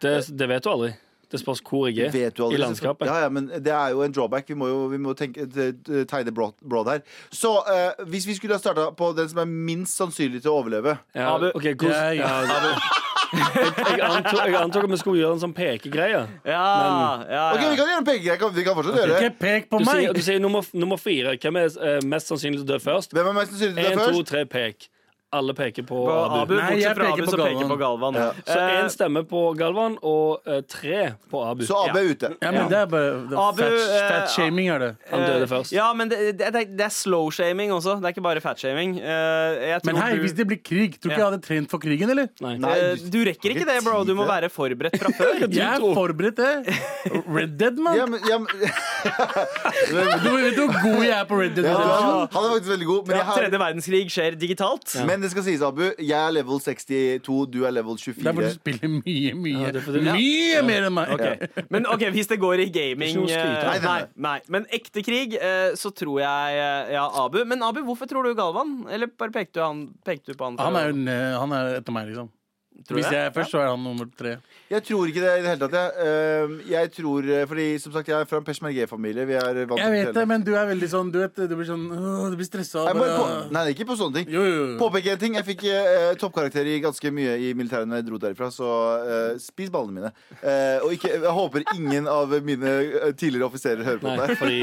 Speaker 3: Det, det vet du aldri. Det spørs hvor jeg er
Speaker 2: Vet du aldri.
Speaker 3: i landskapet.
Speaker 2: Ja, ja, men det er jo en drawback. Vi må jo vi må tenke, te- te- tegne broad, broad her. Så eh, hvis vi skulle ha starta på den som er minst sannsynlig til å overleve
Speaker 3: Ja,
Speaker 5: Abu.
Speaker 3: ok, hvordan-
Speaker 6: Jeg,
Speaker 3: jeg, antok, jeg antok at vi skulle gjøre en sånn pekegreie.
Speaker 5: Ja, ja,
Speaker 2: Ok,
Speaker 5: ja.
Speaker 2: Vi kan gjøre en pekegreie. kan- Vi kan fortsatt gjøre
Speaker 6: Ikke
Speaker 2: det.
Speaker 6: pek på
Speaker 3: Du
Speaker 6: meg!
Speaker 3: sier, du sier nummer, f- nummer fire. Hvem er eh, mest sannsynlig til å dø først?
Speaker 2: Hvem er mest sannsynlig til
Speaker 3: Én,
Speaker 2: det
Speaker 3: to,
Speaker 2: først?
Speaker 3: tre, pek. Alle peker på
Speaker 5: På Abu,
Speaker 3: Abu.
Speaker 6: Nei,
Speaker 5: bortsett
Speaker 6: jeg
Speaker 5: fra
Speaker 6: peker
Speaker 5: Abu,
Speaker 6: på
Speaker 5: så peker på Galvan.
Speaker 2: Ja.
Speaker 3: Så
Speaker 5: Eh,
Speaker 3: én stemmer på Galvan, og eh, tre på Abu.
Speaker 2: Så Abu er ute.
Speaker 6: Ja, men det er bare det er
Speaker 5: Abu, eh,
Speaker 6: fat, fat shaming er det.
Speaker 3: Han døde først.
Speaker 5: Ja, men det, det, det det er slow-shaming også. Det er ikke bare fat-shaming. Eh, jeg tror
Speaker 6: Men hei,
Speaker 5: du-
Speaker 6: hvis det blir krig, tror du ikke jeg hadde trent for krigen, eller?
Speaker 3: Nei.
Speaker 2: Nei.
Speaker 5: Eh, du rekker ikke det, bro. Du må være forberedt fra før.
Speaker 6: Jeg er
Speaker 3: tror-
Speaker 6: forberedt, det. Red Dead, mann.
Speaker 2: Ja, men, ja, men,
Speaker 6: Du vet jo hvor god jeg er på Red Dead.
Speaker 2: Ja,
Speaker 6: Redemption.
Speaker 2: han- han er faktisk veldig god, men,
Speaker 5: Ja,
Speaker 2: jeg har,
Speaker 5: Tredje verdenskrig skjer digitalt.
Speaker 2: men det skal sies, Abu. Jeg er level 62, du er level
Speaker 6: Det er fordi du
Speaker 2: 24.
Speaker 6: spiller mye, mye
Speaker 3: det er fordi-
Speaker 6: Mye mer enn meg!
Speaker 5: Ok. Men ok, hvis det går i gaming
Speaker 3: Det er ikke noe å skryte
Speaker 5: eh,
Speaker 2: av.
Speaker 5: nei, nei, Men ekte krig, eh, så tror jeg eh, ja, Abu. Men Abu, hvorfor tror du Galvan? Eller bare pekte du, han, pekte du på han?
Speaker 6: Han er jo ne- han er etter meg, liksom.
Speaker 5: Tror du
Speaker 6: Hvis
Speaker 5: det?
Speaker 6: jeg er først, så er han nummer tre.
Speaker 2: Jeg tror ikke det i det hele tatt. Jeg, Øhm, jeg tror, eh, fordi som sagt, jeg er fra en peshmerge-familie. Vi er vant til å
Speaker 6: Jeg vet det,
Speaker 2: trene.
Speaker 6: men du er veldig sånn Du vet, du blir sånn øh, Du blir stressa.
Speaker 2: Jeg må
Speaker 6: bare-
Speaker 2: på, nei, ikke på sånne ting.
Speaker 6: Jo, jo, jo.
Speaker 2: Påpeke en ting. Jeg fikk eh, toppkarakter i ganske mye i militæret når jeg dro derifra, så eh, spis ballene mine. Eh, og ikke, jeg håper ingen av mine eh, tidligere offiserer hører på
Speaker 3: Nei,
Speaker 2: det her.
Speaker 3: fordi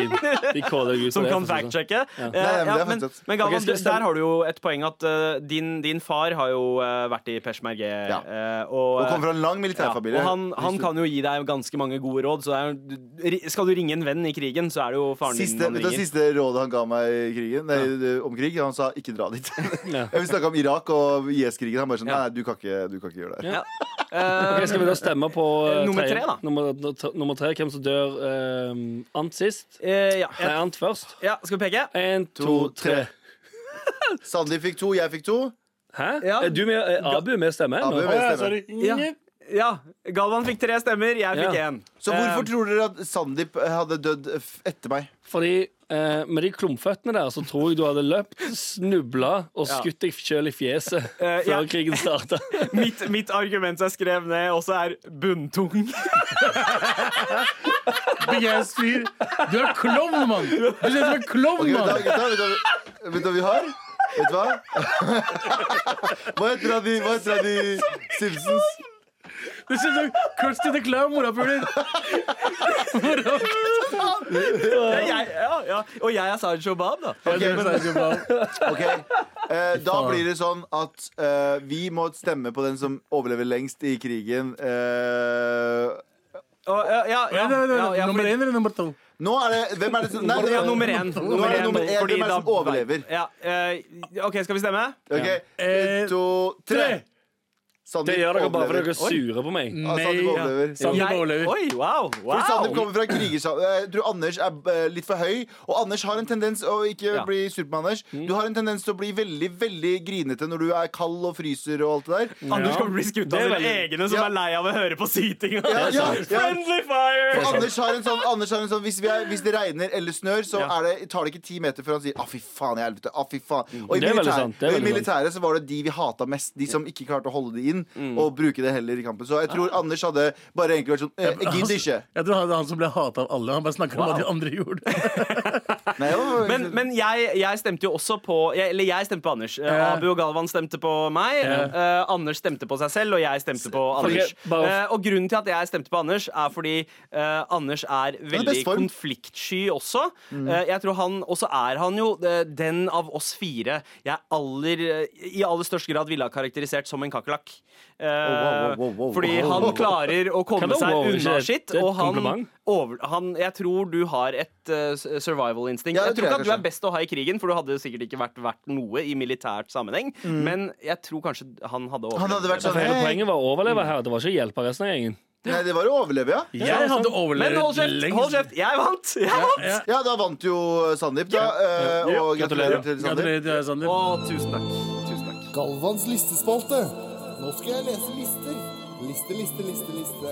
Speaker 3: de kåler deg ut.
Speaker 5: Som
Speaker 3: på
Speaker 5: kan
Speaker 3: det, for å si det sånn.
Speaker 5: fact-sjekke. Eh,
Speaker 2: Nei, men det er
Speaker 5: ja, men,
Speaker 2: faktisk sant.
Speaker 5: men Galvan,
Speaker 3: Ok, skal vi
Speaker 5: du-
Speaker 3: stemme-
Speaker 5: der har du jo et poeng at eh, din, din far har jo eh, vært i peshmerge.
Speaker 2: Ja.
Speaker 5: eh, og, eh,
Speaker 2: Og kommer fra en lang
Speaker 5: ja, og
Speaker 2: militærfamilie.
Speaker 5: han, han kan jo gi deg ganske mange gode råd. Så det er, jo- du- ri- skal du ringe en venn i krigen, så er det jo faren
Speaker 2: Siste, vet
Speaker 5: din man
Speaker 2: du, hva
Speaker 5: ringer.
Speaker 2: siste rådet han ga meg i krigen, nei, om krig, han sa 'ikke dra dit'.
Speaker 3: Ja.
Speaker 2: Vi snakka om Irak og IS-krigen. Han bare sånn
Speaker 5: Ja.
Speaker 2: Nei, du kan ikke, du kan ikke gjøre det her.
Speaker 5: Ja. Eh,
Speaker 3: Ok, skal vi da stemme på eh,
Speaker 5: Nummer
Speaker 3: tredje?
Speaker 5: tre, da.
Speaker 3: Nummer, nummer tre, hvem som dør eh, ant sist?
Speaker 5: eh, ja,
Speaker 3: Nei,
Speaker 5: ja,
Speaker 3: ant først.
Speaker 5: ja, skal vi peke?
Speaker 3: Én, to, tre.
Speaker 2: Sandeep fikk to, jeg fikk to.
Speaker 3: Hæ?
Speaker 5: Ja.
Speaker 3: Er Eh, du med, er Abu med stemme?
Speaker 2: Abu
Speaker 3: nå?
Speaker 2: med
Speaker 6: Å,
Speaker 2: stemme.
Speaker 6: ja, sorry.
Speaker 5: Ja. Ja, Galvan fikk tre stemmer, jeg fikk
Speaker 3: Ja.
Speaker 5: én.
Speaker 2: Så hvorfor
Speaker 3: Eh,
Speaker 2: tror dere at Sandeep eh, hadde dødd f- etter meg?
Speaker 3: Fordi eh, med de klumpføttene der, så tror jeg du hadde løpt, snubla og
Speaker 5: Ja.
Speaker 3: skutt deg sjøl i fjeset
Speaker 5: Eh,
Speaker 3: før
Speaker 5: ja.
Speaker 3: krigen starta.
Speaker 5: Mitt, mitt argument som jeg skrev ned, også er bunntung.
Speaker 6: Big ass fyr. Du er klovn, mann! Du ser ut som en
Speaker 2: Ok, vet
Speaker 6: klovn,
Speaker 2: du, hva-
Speaker 6: mann!
Speaker 2: gutta, vet, du, hva- vet du hva vi har? Vet du hva? Hva heter han i- hva heter han i Simpsons?
Speaker 6: Du ser ut som Kirsty the Clown, morapuler.
Speaker 5: Jeg, ja, ja. Og jeg er Sarge Shobab, da.
Speaker 6: Ja, det er Sergio Ball.
Speaker 2: Ok, eh, Da blir det sånn at eh, vi må stemme på den som overlever lengst i krigen. Eh,
Speaker 5: Og, ja, ja, ja,
Speaker 6: Vent,
Speaker 5: ja,
Speaker 6: vent, vent.
Speaker 5: ja,
Speaker 6: Nummer
Speaker 5: fordi-
Speaker 6: én eller nummer to?
Speaker 2: nå er det Hvem er det som nei,
Speaker 5: Nummer- ja, nummer én.
Speaker 2: Nå er det nummer én.
Speaker 5: fordi
Speaker 2: Hvem er det
Speaker 5: da-
Speaker 2: som overlever?
Speaker 5: Ja, eh, OK, skal vi stemme?
Speaker 2: Ok,
Speaker 6: Eh,
Speaker 2: En, to, tre!
Speaker 6: Tre!
Speaker 2: Sandeep
Speaker 3: Det gjør dere bare fordi
Speaker 2: overlever.
Speaker 3: dere er sure på meg.
Speaker 2: Ja, Sandeep
Speaker 6: Nei,
Speaker 2: overlever.
Speaker 6: Sandeep
Speaker 5: Jeg-
Speaker 6: overlever.
Speaker 5: Oi, wow,
Speaker 2: For Sandeep
Speaker 5: wow.
Speaker 2: kommer fra krigersam... Jeg tror Anders er eh, litt for høy, og Anders har en tendens å ikke
Speaker 5: Ja.
Speaker 2: bli sur på meg, Anders. Du har en tendens til å bli veldig, veldig grinete når du er kald og fryser og alt det der.
Speaker 5: Anders kommer til å bli skutt av
Speaker 3: Det
Speaker 5: sine
Speaker 3: er veldig-
Speaker 5: egne som
Speaker 2: Ja.
Speaker 5: er lei av å høre på sytinga.
Speaker 2: Ja, ja, ja.
Speaker 5: Friendly fire!
Speaker 2: Anders har en sånn, Anders har en sånn hvis, vi er, hvis det regner eller snør, så
Speaker 5: Ja.
Speaker 2: er det, tar det ikke ti meter før han sier 'Å, fy faen i helvete'. Å, fy faen. Og i,
Speaker 3: Det er veldig
Speaker 2: militær,
Speaker 3: sant, det
Speaker 2: og
Speaker 3: er
Speaker 2: i
Speaker 3: veldig sant.
Speaker 2: militæret så var det de vi hata mest. De som ikke klarte å holde det inn og bruke det heller i kampen. Så jeg tror Anders hadde bare egentlig vært sånn eh, 'Jeg gidder ikke'.
Speaker 6: Jeg tror han, han som ble hata av alle. Han bare snakker om hva de andre gjorde.
Speaker 2: Nei, jeg var-
Speaker 5: Men, men jeg, jeg stemte jo også på jeg, Eller jeg stemte på Anders. Eh,
Speaker 6: Ja.
Speaker 5: Abu og Galvan stemte på meg. eh, Anders stemte på seg selv, og jeg stemte på Anders.
Speaker 3: bare-
Speaker 5: Eh, og grunnen til at jeg stemte på Anders, er fordi eh, Anders er veldig
Speaker 2: best form.
Speaker 5: konfliktsky også. Eh, jeg tror han også er han jo eh, den av oss fire jeg aller, eh, i aller størst grad ville ha karakterisert som en kakerlakk. Eh,
Speaker 2: wow, wow, wow, wow.
Speaker 5: fordi han klarer å komme
Speaker 3: Kan det
Speaker 5: seg
Speaker 3: wow, ikke
Speaker 5: unna
Speaker 3: det?
Speaker 5: sitt,
Speaker 3: Det er et
Speaker 5: og han,
Speaker 3: kompliment.
Speaker 5: over, han Jeg tror du har et eh, survival-instinkt.
Speaker 2: Ja, det tror
Speaker 5: jeg tror
Speaker 2: jeg
Speaker 5: ikke at du er
Speaker 2: kanskje.
Speaker 5: best å ha i krigen, for du hadde sikkert ikke vært verdt noe i militært sammenheng. Men jeg tror kanskje han hadde
Speaker 2: Mm. Han hadde vært sånn
Speaker 3: Hele
Speaker 2: Hei.
Speaker 3: poenget var å overleve her. Det var ikke å hjelpe resten av gjengen.
Speaker 2: Nei, det var å overleve, ja.
Speaker 6: Jeg hadde
Speaker 5: Men hold
Speaker 6: overlevd
Speaker 5: kjeft! Hold kjeft! Jeg vant! Jeg vant!
Speaker 6: Ja.
Speaker 2: Ja, da vant jo Sandeep, da. eh, Og gratulerer til Sandeep.
Speaker 6: Gratulerer til deg, Sander.
Speaker 5: Å, tusen takk. Tusen takk.
Speaker 7: Galvans listespalte. Nå skal jeg lese lister. Liste, liste, liste, liste.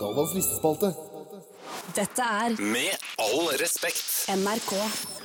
Speaker 7: Galvans listespalte.
Speaker 4: Dette er
Speaker 1: Med all respekt.
Speaker 4: NRK.